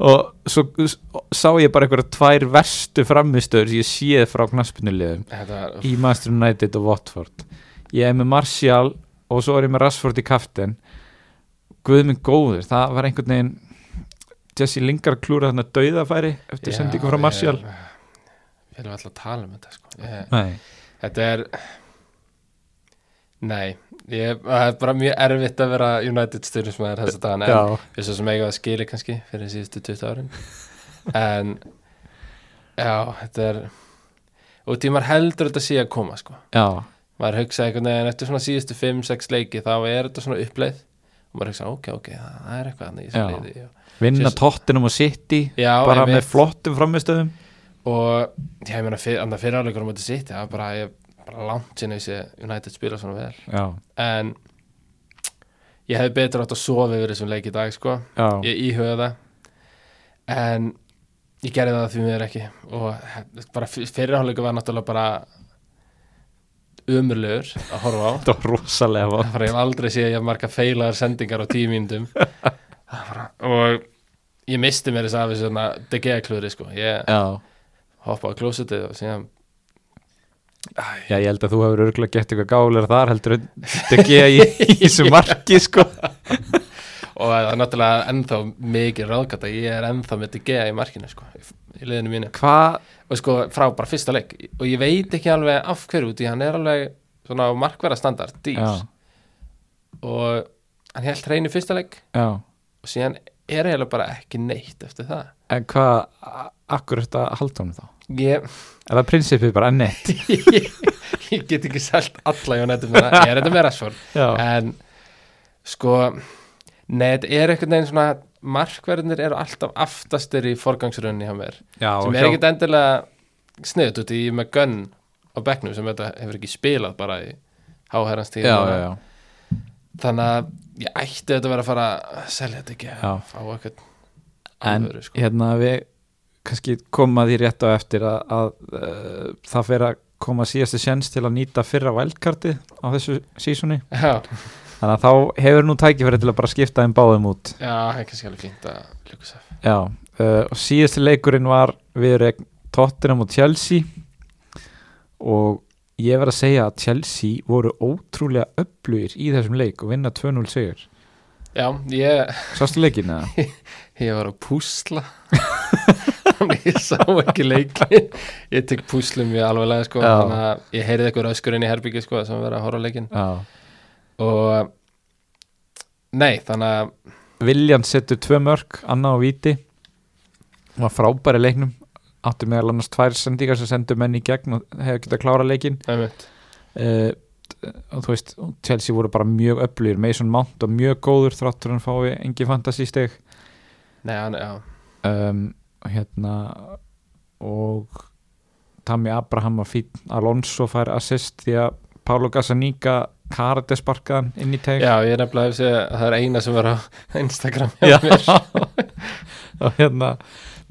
Speaker 1: og svo s- sá ég bara einhverja tvær verstu framistöður sem ég séð frá knaspinulegum
Speaker 2: þetta var
Speaker 1: í Master United og Watford ég er með Martial og svo er ég með Rashford í kaftin guð minn góður, það var einhvern veginn Jesse Lingard klúra þarna dauðafæri eftir
Speaker 2: Já,
Speaker 1: sendingu frá Martial
Speaker 2: ég, ég vil alltaf tala um þetta sko. ég,
Speaker 1: Nei,
Speaker 2: þetta er nei ég, það er bara mjög erfitt að vera United styrnismæður þess að dagana en
Speaker 1: já,
Speaker 2: við svo sem eiga að skili kannski fyrir síðustu 20 árin en já, þetta er og því maður heldur þetta sé að koma sko.
Speaker 1: já,
Speaker 2: maður hugsa einhvern veginn eftir svona síðustu 5-6 leiki þá er þetta svona uppleið og maður hugsa ok, ok, það er eitthvað þannig í
Speaker 1: Já.
Speaker 2: þessu liði
Speaker 1: vinna
Speaker 2: Sérst-
Speaker 1: tóttinum og City
Speaker 2: já,
Speaker 1: bara
Speaker 2: einmitt.
Speaker 1: með flottum framistöðum
Speaker 2: og já, ég meina fyr, andan fyrirháleikur á móti sitt, það var bara, ég, bara langt sinni þessi United spila svona vel
Speaker 1: já,
Speaker 2: en ég hefði betur átt að sofa yfir þessum leik í dag sko,
Speaker 1: já,
Speaker 2: ég íhuga það en ég gerði það því mér ekki og he- bara fyrirháleikur var náttúrulega bara umurlegur að horfa á
Speaker 1: þetta var rosalega
Speaker 2: það
Speaker 1: vond.
Speaker 2: var ég hef aldrei séð að ég marga feilaðar sendingar á tíu mínútum Það var- og ég misti mér þess að við svona DG klúri sko, ég
Speaker 1: já,
Speaker 2: hoppa á klósitið og síðan
Speaker 1: já, ég held að þú hefur örgulega gett eitthvað gálegar þar heldur en degi að ég í þessu marki sko,
Speaker 2: og það er náttúrulega ennþá mikið ráðgata ég er ennþá með DG í markinu sko, í- í liðinu mínu
Speaker 1: hvað
Speaker 2: og sko frá bara fyrsta leik og ég veit ekki alveg af hverju út í hann er alveg svona á markverða standard dýr
Speaker 1: já,
Speaker 2: og hann held hreinu fyrsta leik
Speaker 1: já,
Speaker 2: og síðan er eiginlega bara ekki neitt eftir það
Speaker 1: en hvað a- akkur þetta halda honum þá
Speaker 2: ég,
Speaker 1: Er það prinsipið bara ennett?
Speaker 2: ég, ég get ekki selt alla United með það, ég er þetta með Rashford
Speaker 1: Já,
Speaker 2: en sko nei, þetta er einhvern veginn svona markverðinir eru alltaf aftastir í forgangsrunni hjá mér
Speaker 1: já
Speaker 2: sem er ekkert endilega sniðut út í með Gunn á bekknum sem þetta hefur ekki spilað bara í háherrans tíð
Speaker 1: já, já, já,
Speaker 2: þannig að ég ætti þetta að vera að fara að selja þetta ekki
Speaker 1: Já.
Speaker 2: að fá eitthvað
Speaker 1: en
Speaker 2: alvöru, sko.
Speaker 1: hérna við kannski koma því rétt á eftir að, að uh, það fer að koma síðasti sjens til að nýta fyrra vældkarti á þessu sísunni
Speaker 2: já,
Speaker 1: þannig að þá hefur nú tækifæri til að bara skipta þeim báðum út
Speaker 2: já, það er kannski alveg fínt að ljúka sér
Speaker 1: já, uh, og síðasti leikurinn var við erum Tottenham og Chelsea og ég verð að segja að Chelsea voru ótrúlega öflugir í þessum leik og vinna 2-0 sigur
Speaker 2: já, ég,
Speaker 1: sástu leikinn eða?
Speaker 2: ég var að púsla þannig ég sá ekki leikin ég tek púslum mjög alveglega sko,
Speaker 1: Já.
Speaker 2: þannig að ég heyrði eitthvað öskur inn í herbyggi sko, sem verið að horfa á leikin
Speaker 1: já
Speaker 2: og eh, nei, þannig að
Speaker 1: Viljan setur tvö mörg, Anna og Víti var frábæri leiknum átti meðal annars tvær sendingar sem sendu menn í gegn og hefur getað klára leikin
Speaker 2: einmitt,
Speaker 1: uh, og þú veist, og Chelsea voru bara mjög öflugir, Mason Mount og mjög góður þráttur hann fái engi fantasy steg
Speaker 2: nei, hann, já,
Speaker 1: um, og hérna og Tammy Abraham var fín Alonso fær assist því að Pálo Gazzaniga karate sparkaðan inn í teg
Speaker 2: já, ég er nefnilega að segja að það er eina sem verið á Instagram hjá
Speaker 1: Já.
Speaker 2: mér.
Speaker 1: og hérna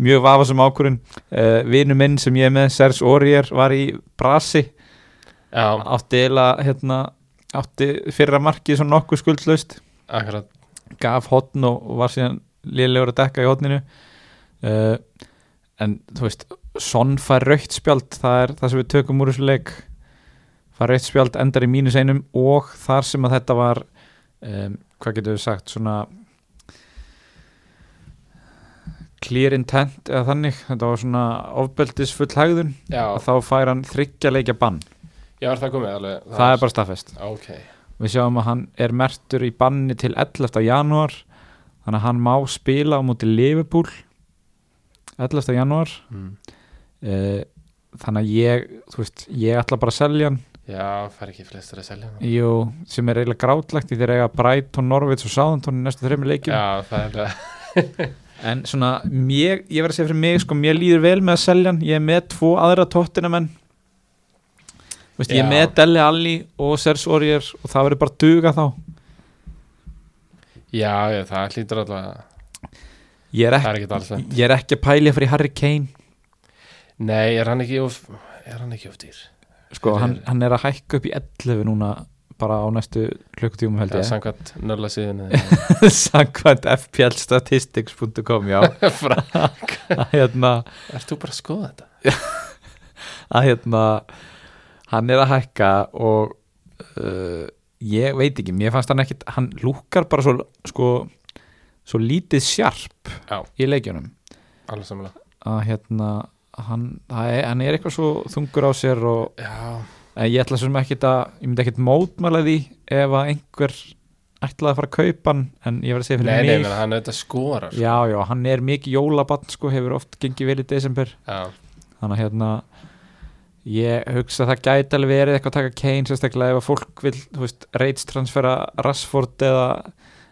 Speaker 1: mjög vafa sem ákvörun uh, vinnu minn sem ég er með, Serge Aurier var í brasi,
Speaker 2: já,
Speaker 1: átti eila hérna, átti fyrra markið svona nokkuð skuldlaust,
Speaker 2: akkurat
Speaker 1: gaf hotn og og var síðan liðlegur að dekka í hotninu uh, en þú veist Son fær raukt spjald, það er það sem við tökum úr þessu leik fær raukt spjald, endar í mínus einum og þar sem að þetta var um, hvað getur við sagt, svona clear intent eða þannig, þetta var svona ofbeldisfull hægðun,
Speaker 2: já,
Speaker 1: að þá fær hann þryggja leikja bann,
Speaker 2: já, er það komið alveg
Speaker 1: það, er bara staðfest
Speaker 2: ok,
Speaker 1: við sjáum að hann er mertur í banni til 11. janúar þannig að hann má spila á móti Liverpool 11. janúar
Speaker 2: mm.
Speaker 1: uh, þannig að ég þú veist, ég ætla bara að selja hann
Speaker 2: já, fær ekki flestir að selja hann
Speaker 1: Jú, sem er eiginlega grátlegt í þegar eiga Brighton, Norvits og Southampton í næstu þreymur leikjum
Speaker 2: já, það er alveg
Speaker 1: en svona, mér, ég verð að segja fyrir mig sko, mér líður vel með að selja hann ég er með tvo aðra tóttina menn Veist, ég er
Speaker 2: Já.
Speaker 1: með Dele Alli og Serge Aurier og það verður bara duga þá
Speaker 2: já, já, það hlýtur allavega
Speaker 1: ég er
Speaker 2: það
Speaker 1: ekki,
Speaker 2: er ekki alls það
Speaker 1: ég er ekki að pæli fyrir Harry Kane
Speaker 2: nei, er hann ekki of, er hann ekki of dýr
Speaker 1: Sko,
Speaker 2: Fyrir-
Speaker 1: hann, hann er að hækka upp í 11 núna bara á næstu klukkutíum held
Speaker 2: það er
Speaker 1: ég
Speaker 2: samkvæmt nörla síðan
Speaker 1: Samkvæmt fplstatistics.com já, að hérna,
Speaker 2: er þú bara að skoða þetta?
Speaker 1: að hérna hann er að hækka og uh, ég veit ekki mér fannst hann ekkit, hann lúkar bara svo, sko, svo lítið sjarp
Speaker 2: Já.
Speaker 1: í leikjunum
Speaker 2: alveg samanlega
Speaker 1: að hérna hann, það er, hann er eitthvað svo þungur á sér og,
Speaker 2: já,
Speaker 1: En ég ætla svo sem ekkit að, ég myndi ekkit mótmæla því ef að einhver ætlaði að fara að kaupa hann, en ég verði að segja fyrir
Speaker 2: nei, sko. nei,
Speaker 1: mig.
Speaker 2: menn, hann auðvitað skorar
Speaker 1: já, já, hann er mikið jólabann, sko, hefur oft gengið vel í desember,
Speaker 2: já,
Speaker 1: þannig að hérna, ég hugsa að það gæti alveg verið eitthvað að taka Kane, sérstaklega ef að fólk vil, þú veist, reitstransfera Rashford eða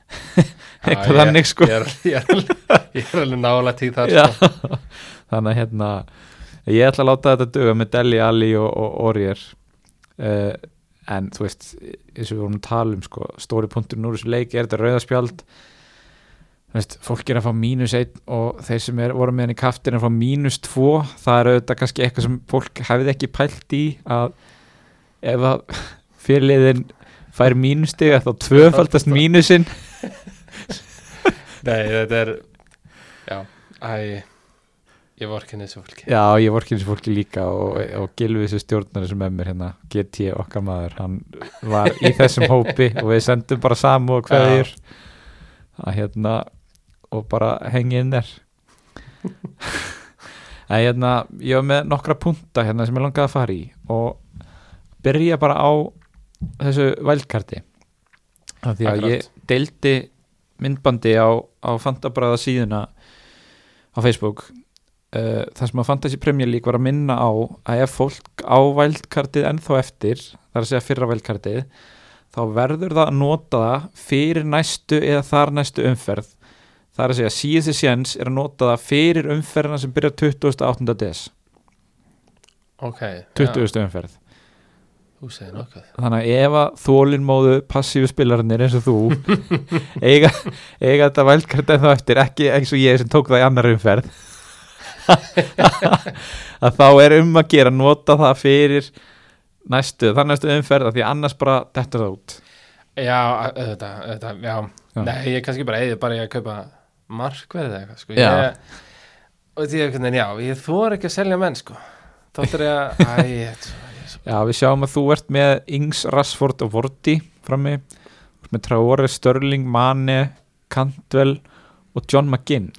Speaker 2: Já,
Speaker 1: eitthvað
Speaker 2: ég-
Speaker 1: þannig, sko.
Speaker 2: ég er, ég er, alveg- ég er alveg nála tíð þar
Speaker 1: Já,
Speaker 2: sko.
Speaker 1: þannig að hérna ég ætla að láta þetta duga með Deli Alli og, og Orger uh, en þú veist eins og við vorum að tala um sko, stóri punktur núr þessu leik er þetta rauðaspjald veist, fólk er að fá mínus einn og þeir sem er, voru með henni kaftin er að fá mínus tvo það er auðvitað kannski eitthvað sem fólk hefði ekki pælt í að ef að fyrirliðin fær mínustiga þá tvöfaldast mínusinn
Speaker 2: nei, þetta er já, æ ég vor ekki þessu fólki
Speaker 1: Já, ég vorki eins og fólki líka og, og Gilvi þessi stjórnari sem er mér hérna GT okkar maður, hann var í þessum hópi og við sendum bara samu og hverjir að hérna og bara hengi inn þér en hérna ég var með nokkra punta hérna sem ég langaði að fara í og byrja bara á þessu vælkarti af því að
Speaker 2: Akkurat.
Speaker 1: ég deildi myndbandi á, á Fantabræða síðuna á Facebook uh, þar sem að Fantasy Premier League var að minna á að ef fólk á vældkartið ennþá eftir, þar að segja fyrra vældkartið þá verður það að nota það fyrir næstu eða þar næstu umferð þar að segja síðusti séns er að nota það fyrir umferðina sem byrjar 28. des
Speaker 2: ok, já.
Speaker 1: 20. umferð
Speaker 2: Þú segir nokkuð
Speaker 1: þannig að ef að þólinmóðu passífu spilarnir eins og þú eiga, eiga þetta vældkart en þá eftir, ekki eins og ég sem tók það í annar umferð að þá er um að gera nota það fyrir næstu, þannig næstu umferð að því annars bara dettur það út
Speaker 2: Já, þetta, þetta, já.
Speaker 1: Já.
Speaker 2: Nei, ég kannski bara eigið bara í að kaupa markverð eða eitthvað, sko
Speaker 1: Já.
Speaker 2: ég, Og því einhvern veginn, já, ég þor ekki að selja menn, sko Þóttir ég að, æ, ég er svo- ég er svo
Speaker 1: Já, við sjáum að þú ert með Ings, Rashford og Vorti frammi, Þú ert með Traore, Störling, Mane, Cantwell og John McGinn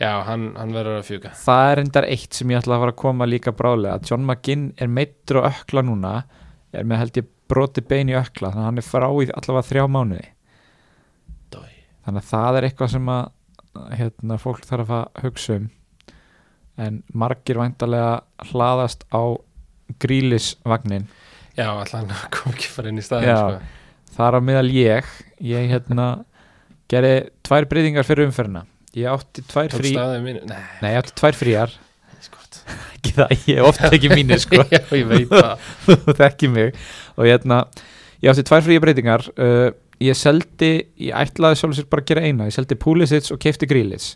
Speaker 2: Já, hann, hann verður að fjúka
Speaker 1: Það er endar eitt sem ég ætla að fara að koma líka brálega að John McGinn er meittur á ökla núna er með held ég broti bein í ökla þannig að hann er frá í allavega þrjá mánuði
Speaker 2: Dói.
Speaker 1: þannig að það er eitthvað sem að hérna, fólk þarf að hugsa um en margir væntalega hlaðast á grílisvagnin
Speaker 2: Já, alltaf hann kom ekki fara inn í staðin,
Speaker 1: Já.
Speaker 2: sko
Speaker 1: þar á meðal ég ég hérna gerði tvær breytingar fyrir umferðina ég átti tvær
Speaker 2: Tók
Speaker 1: frí
Speaker 2: staðið mínu, nei,
Speaker 1: Nei, ég átti tvær fríjar
Speaker 2: skott
Speaker 1: ekki það, ég hef oft ekki mínu sko
Speaker 2: Já, ég veit það
Speaker 1: þú þekki mig og hérna, ég átti tvær fríja breytingar uh, ég seldi, ég ætlaði sjálf sér bara að gera eina, ég seldi Pulisic og kefti Grílis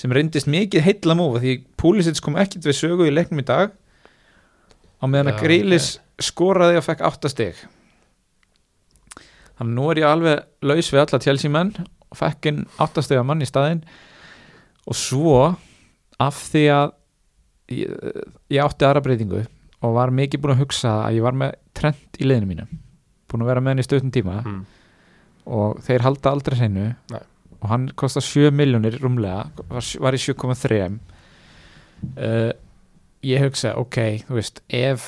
Speaker 1: sem reyndist mikið heilla múfa því Pulisic kom ekkit við sögu í leiknum í dag á meðan að
Speaker 2: Já,
Speaker 1: Grílis skoraði og fekk 8 stig þannig nú er ég alveg laus við alla tjálsímenn og fekk inn 8 stiga mann í staðinn og svo af því að ég, ég átti aðra breytingu og var mikið búin að hugsa að ég var með trend í liðinu mínu búin að vera með henni í stöðnum tíma
Speaker 2: Mm.
Speaker 1: og þeir halda aldrei hreinu
Speaker 2: Nei.
Speaker 1: og hann kostar 7 miljónir rúmlega var, var í 7,3 uh, ég hugsa ok, þú veist, ef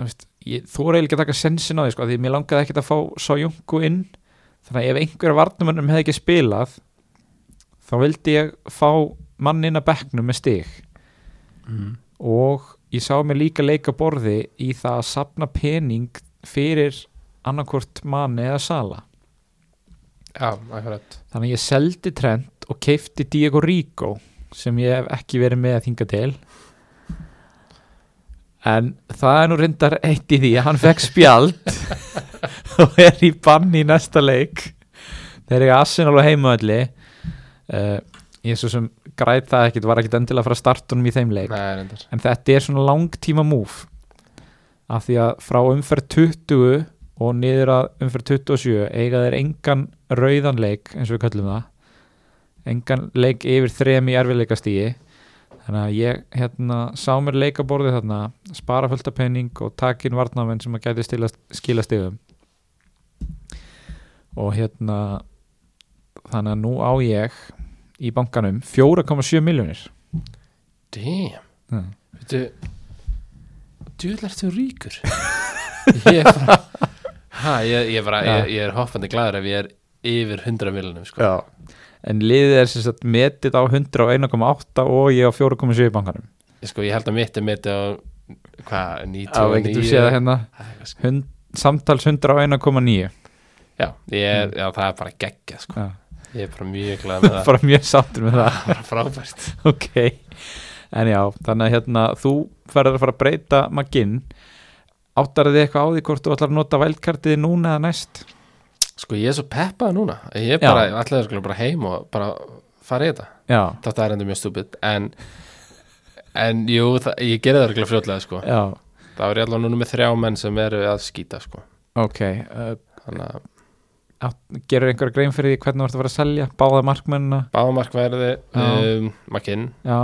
Speaker 1: þú veist, ég, þú er eiginlega að taka sensin á því sko, af því mér langaði ekkert að fá Sojungu inn þannig að ef einhverja varnumönnum hefði ekki spilað þá vildi ég fá mannin að bekknum með stig
Speaker 2: mm.
Speaker 1: og ég sá mér líka leika borði í það að sapna pening fyrir annarkvort manni eða sala
Speaker 2: Já, akkurat
Speaker 1: þannig að ég seldi trend og keifti Diego Rico sem ég hef ekki verið með að þinga til en það er nú reyndar eitt í því að hann fekk spjald og er í banni í næsta leik þegar ég assin alveg heimaðalli uh, ég svo sem græt það ekkit var ekkit endilega að fara að starta um í þeim leik
Speaker 2: Nei, reyndar
Speaker 1: en þetta er svona langtíma múf af því að frá umferð 20 og niður að umferð 27 eiga þeir engan rauðan leik eins og við kallum það engan leik yfir þrem í erfiðleikastígi þannig að ég hérna sá mér leikaborðið þarna spara fullt af penning og takin varnamenn sem að gæti stila, skila stigum og hérna þannig að nú á ég í bankanum 4,7 miljónir
Speaker 2: Damn
Speaker 1: Já.
Speaker 2: Veitu Djúðl ertu ríkur Ég er bara ha, ég, ég, er bara,
Speaker 1: Já.
Speaker 2: ég, ég er hoppandi glæður ef ég er yfir 100 miljonum sko.
Speaker 1: Já. En liðið er sem sagt metið á 101,8 og ég á 4,7 í bankanum.
Speaker 2: Ég sko, ég held að mitt er mitt á hvað, 90
Speaker 1: Já, við getum séð það hérna. Hund, samtals 101,9.
Speaker 2: sko. Já, ég
Speaker 1: Mm.
Speaker 2: er, já, það er bara geggja sko.
Speaker 1: Já.
Speaker 2: Ég er bara mjög glæður með það
Speaker 1: Bara mjög sáttur með það.
Speaker 2: bara frábært
Speaker 1: ok. En já, þannig að hérna, þú ferður að fara að breyta maginn. Áttar þið eitthvað á því hvort þú ætlar að nota vældkartiði núna eða næst?
Speaker 2: Sko, ég er svo peppað núna Ég er
Speaker 1: Já.
Speaker 2: bara, allir sko bara heim og bara fara í þetta
Speaker 1: Já,
Speaker 2: Þetta er endur mjög stúpid En, en jú, það, ég gerði það örgulega fljótlega sko.
Speaker 1: já,
Speaker 2: Það er allavega núna með þrjá menn sem eru að skýta sko.
Speaker 1: ok. Uh,
Speaker 2: Þannig að
Speaker 1: gerur einhver grein fyrir því hvernig þú ert að fara að selja? Báða markmennina?
Speaker 2: báðamarkverði
Speaker 1: Já.
Speaker 2: um, makinn
Speaker 1: Já,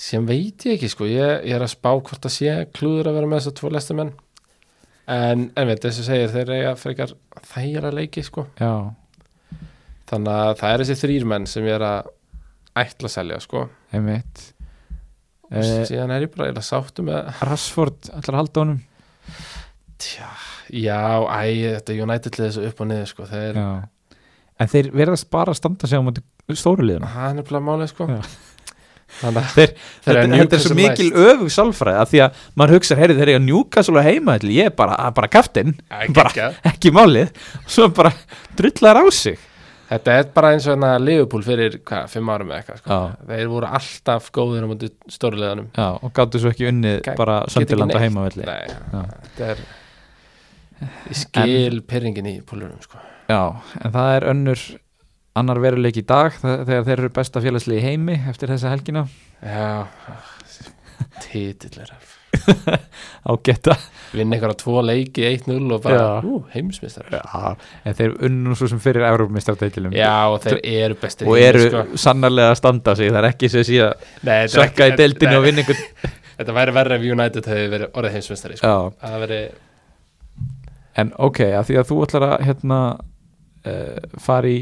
Speaker 2: sem veit ég ekki sko ég, ég er að spá hvort það sé klúður að vera með þess að tvo lestamenn en, en veit þess að segir þeir eiga frekar þægjara leiki sko
Speaker 1: já,
Speaker 2: þannig að það er þessi þrýr menn sem ég er að ætla að selja sko
Speaker 1: einmitt. Uh,
Speaker 2: síðan er ég bara eiginlega sáttu með
Speaker 1: Rashford, ætlar að halda honum?
Speaker 2: tja, já, æ, þetta er United liðið svo upp og niður sko þeir,
Speaker 1: Já. En þeir verðast bara að standa sig á móti stóru liðuna.
Speaker 2: hann er bara málið sko
Speaker 1: Já.
Speaker 2: þannig að
Speaker 1: Þeir,
Speaker 2: Þeir eru
Speaker 1: þetta, þetta er svo
Speaker 2: Newcastle
Speaker 1: mikil öfug sálfræði af því að maður hugsa, heyrðu þeir eru Newcastle að heima til, ég er bara, að bara kaftin,
Speaker 2: Æ,
Speaker 1: Bara-
Speaker 2: geggjað.
Speaker 1: ekki málið, og svo bara drullar á sig.
Speaker 2: Þetta er bara eins og hérna Liverpool fyrir hvað, fimm árum eða eitthvað sko.
Speaker 1: Já.
Speaker 2: Þeir voru alltaf góðir á múti stóruleðanum
Speaker 1: Já, og gáttu svo ekki unnið
Speaker 2: Gæ-
Speaker 1: bara
Speaker 2: Geta ekki
Speaker 1: söndilanda
Speaker 2: neitt.
Speaker 1: heima til.
Speaker 2: Nei,
Speaker 1: Já.
Speaker 2: þetta er ég skil en... perringin í pólverum sko.
Speaker 1: Já, en það er önnur annar veruleik í dag þa- þegar þeir eru besta félagslið í heimi eftir þessa helgina
Speaker 2: já titill er að
Speaker 1: á geta
Speaker 2: vinna einhverja tvo leiki 1-0 og bara
Speaker 1: Já.
Speaker 2: ú, heimsmeistar já.
Speaker 1: en þeir unnu svo sem fyrir Európmistardeitilum
Speaker 2: og þeir eru bestir í
Speaker 1: og
Speaker 2: heimi,
Speaker 1: eru
Speaker 2: sko.
Speaker 1: sannarlega að standa sig það er ekki sem sé að
Speaker 2: Nei, þetta er
Speaker 1: sökka
Speaker 2: ekki-
Speaker 1: í deildinu
Speaker 2: nei,
Speaker 1: og vinna einhvern
Speaker 2: þetta væri verra ef United hefði verið orðið heimsmeistari sko.
Speaker 1: Já,
Speaker 2: það veri,
Speaker 1: en ok, að því að þú ætlar að hérna uh, fara í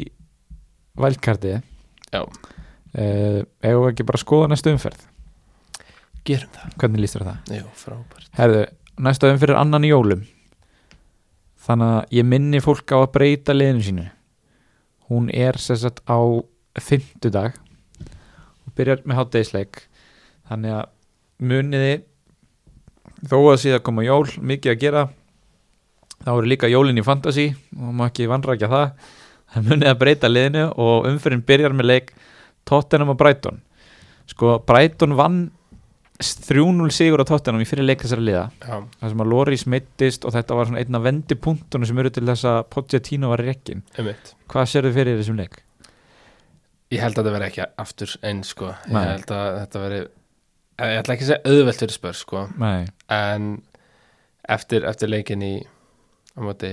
Speaker 1: vælkarti
Speaker 2: Já.
Speaker 1: uh, eigum við ekki bara að skoða næstu umferð
Speaker 2: gerum það
Speaker 1: hvernig líst þér á það?
Speaker 2: Jú, frábært
Speaker 1: Herðu, næstu umferð er annan í jólum þannig að ég minni fólk á að breyta liðinu sínu hún er sem sagt á fimmtudag og byrjar með hátdeisleik þannig að muniði þó að síðan koma jól mikið að gera þá eru líka jólin í fantasy og má ekki vanrækja það það muniði að breyta liðinu og umferðin byrjar með leik Tottenham og Brighton sko Brighton vann 3-0 sigur á Tottenham í fyrir leik þessara liða
Speaker 2: já,
Speaker 1: það sem að Loris meittist og þetta var svona einna vendipunktunum sem eru til þess að Pochettino var rekkin
Speaker 2: einmitt
Speaker 1: hvað sérðu fyrir þessum leik?
Speaker 2: ég held að þetta veri ekki aftur eins sko. ég
Speaker 1: Nei.
Speaker 2: held að þetta veri ég ætla ekki að segja auðvelt fyrir spör sko.
Speaker 1: Nei,
Speaker 2: en eftir, eftir leikin í á móti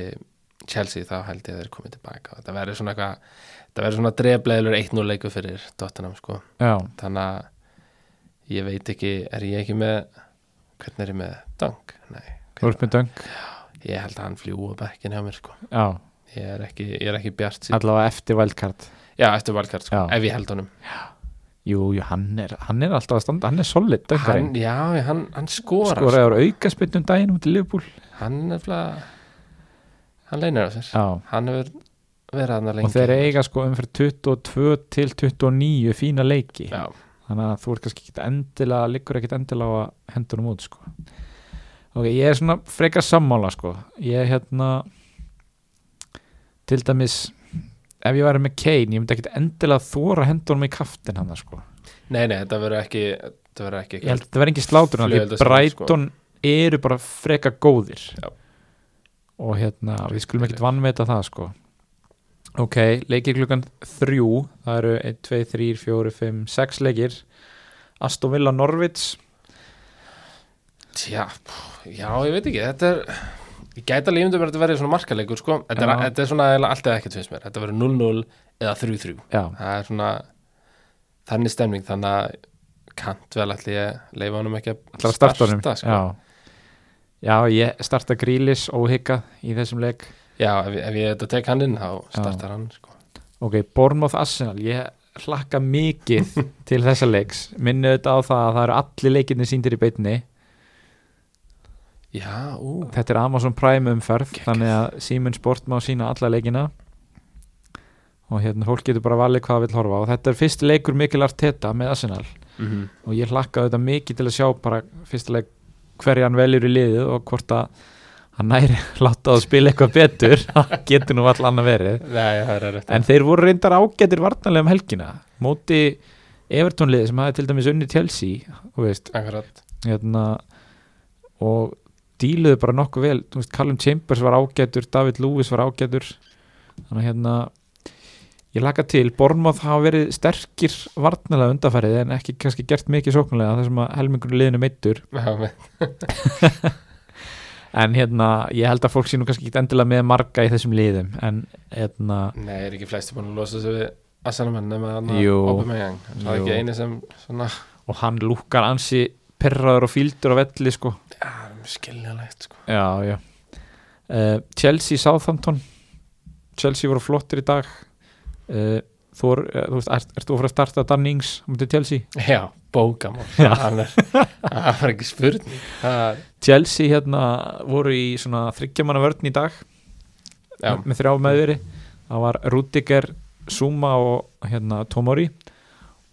Speaker 2: Chelsea þá held ég að þeir komið tilbaka þetta veri svona eitthvað þetta veri svona drefleilur 1-0 leiku fyrir Tottenham sko.
Speaker 1: já,
Speaker 2: þannig að ég veit ekki, er ég ekki með hvernig er ég með Dunk? Nei,
Speaker 1: þú ert með döng
Speaker 2: ég held að hann fljúa bekkin hjá mér sko.
Speaker 1: já,
Speaker 2: ég er ekki, ég er ekki bjart sín
Speaker 1: allavega eftir wildcard
Speaker 2: já, eftir valkart, sko,
Speaker 1: Já.
Speaker 2: ef ég held honum
Speaker 1: jú, jú, hann er, hann er alltaf að standa hann er solid
Speaker 2: hann,
Speaker 1: döngarinn
Speaker 2: já, já, hann, hann skorar sko.
Speaker 1: skoraður aukaspynnum daginn út í Liverpool
Speaker 2: hann er fyrir hann leynir á sér
Speaker 1: já,
Speaker 2: hann hefur verið hann lengi
Speaker 1: og þeir eiga sko umfyrir 22 til 29 fína leiki
Speaker 2: já,
Speaker 1: þannig að þú ert kannski ekki endilega liggur ekkit endilega á að hendunum út sko. ok, ég er svona frekar sammála sko, ég er hérna til dæmis ef ég væri með Kane, ég myndi ekkit endilega þóra hendunum í kaftin hann sko.
Speaker 2: nei, nei, þetta verður ekki þetta verður ekki
Speaker 1: ég held að sko. þetta verði engin slátur hann, því
Speaker 2: Flugelda saman,
Speaker 1: Brighton eru bara frekar góðir
Speaker 2: Já.
Speaker 1: og hérna, við skulum ekkit
Speaker 2: Frekar
Speaker 1: vannmeta það sko ok, leikir klukkan þrjú, það eru 1, 2, 3, 4, 5, 6 leikir Aston Villa Norvits
Speaker 2: Tja, pú, já, ég veit ekki, þetta er ég gæti alveg ímyndum að þetta verði svona markaleikur sko. þetta, er,
Speaker 1: Já.
Speaker 2: þetta er svona eiginlega allt eða ekkert finnst mér þetta verður 0-0 eða 3-3
Speaker 1: já,
Speaker 2: það er svona þannig stemning þannig að kant vel ætli ég leifa honum ekki að
Speaker 1: ætlar að starta honum
Speaker 2: sko.
Speaker 1: já. já, ég starta grílis óhygga í þessum leik
Speaker 2: já, ef, ég- ef ég þetta tek hann inn þá startar hann sko.
Speaker 1: ok, Bournemouth Arsenal ég hlakka mikið til þessa leiks minni auðvitað á það að það eru allir leikinni síndir í beinni
Speaker 2: já, ú,
Speaker 1: þetta er Amazon Prime umferð þannig að Siemens Sport má sína alla leikina og hérna fólk getur bara valið hvað það vill horfa á og þetta er fyrsti leikur mikil arteta með Arsenal
Speaker 2: mm
Speaker 1: og ég hlakka auðvitað mikið til að sjá bara fyrsta leik hverja hann veljur í liðið og hvort að hann næri láta að spila eitthvað betur það getur nú allan að verið
Speaker 2: nei, það er rétt
Speaker 1: en þeir voru reyndar ágætir varnarlega um helgina móti Everton liðið sem hafi til dæmis unni Chelsea þú veist,
Speaker 2: akkurat,
Speaker 1: hérna, og díluðu bara nokkuð vel þú veist, Callum Chambers var ágætur David Lewis var ágætur þannig að hérna ég laka til, Bournemouth hafa verið sterkir varnarlega undanfærið en ekki kannski gert mikið sóknulega þessum að helmingur liðinu meittur
Speaker 2: já, með,
Speaker 1: en hérna, ég held að fólk sé nú kannski ekki endilega með marga í þessum liðum en hérna,
Speaker 2: nei, er ekki flesti búin að losa sig við Asanamann nema hann
Speaker 1: Jú.
Speaker 2: Obumegang, það er
Speaker 1: Jú.
Speaker 2: ekki eini sem svona,
Speaker 1: og hann lúkkar ansi perraður og fíldur á velli sko
Speaker 2: já, það er skiljanlegt sko.
Speaker 1: já, já. Uh, Chelsea Southampton Chelsea voru flottir í dag uh, þú, er, uh, þú veist, ert, ert þú að fara að starta Dannings á mútið Chelsea?
Speaker 2: já, bókamál
Speaker 1: Já.
Speaker 2: hann er, það var ekki spurning það er,
Speaker 1: Chelsea hérna voru í svona þryggjamanna vörn í dag
Speaker 2: já,
Speaker 1: með, með þrjá meðveri það var Rudiger, Zuma og hérna Tomori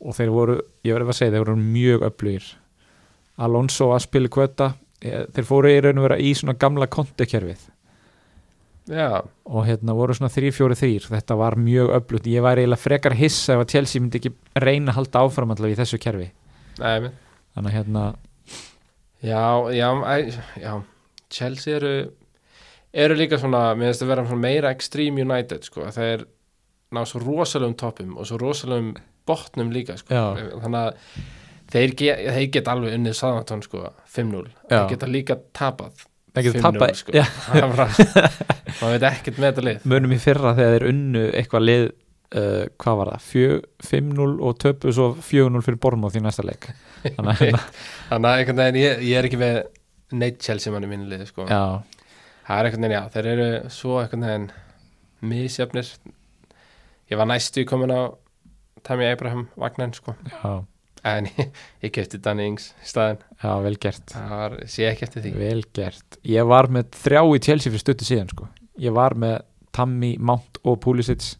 Speaker 1: og þeir voru, ég verið að segja, þeir voru mjög öflugir Alonso að spila kvöta þeir fóru í raun og vera í svona gamla kontekerfið
Speaker 2: já,
Speaker 1: og hérna voru svona 3-4-3 þetta var mjög öflugt, ég væri eiginlega frekar hissa ef að Chelsea myndi ekki reyna að halda áfram allavega í þessu kerfi
Speaker 2: nei, með
Speaker 1: þannig að hérna,
Speaker 2: Já, já, æ, já Chelsea eru eru líka svona, mér finnst að vera svona meira Extreme United sko, að þeir ná svo rosalegum toppum og svo rosalegum botnum líka sko.
Speaker 1: Já.
Speaker 2: þannig að þeir, ge þeir geta alveg unnið Southampton sko, 5-0
Speaker 1: Já.
Speaker 2: þeir geta líka tapað
Speaker 1: Þeir geta
Speaker 2: 5-0,
Speaker 1: tapað,
Speaker 2: sko.
Speaker 1: já.
Speaker 2: Það er bara- maður veit ekkert með þetta lið
Speaker 1: munum í fyrra þegar þeir unnu eitthvað lið uh, hvað var það, Fjö- 5-0 og töpu svo 4-0 fyrir Bormóð í næsta leik þannig að hérna,
Speaker 2: þannig að einhvern veginn ég, ég er ekki með neitt Chelsea manni mínu lið sko.
Speaker 1: já,
Speaker 2: það er einhvern veginn, já, þeir eru svo einhvern veginn misjöfnir ég var næstu komin á Tammy Abraham vagnan sko
Speaker 1: já,
Speaker 2: en ég, ég kefti Danny Ings í staðin,
Speaker 1: já, vel gert
Speaker 2: það var, sé ekki eftir því
Speaker 1: vel gert, ég var með þrjá í Chelsea fyrir stöttu síðan sko, ég var með Tammy, Mount og Pulisic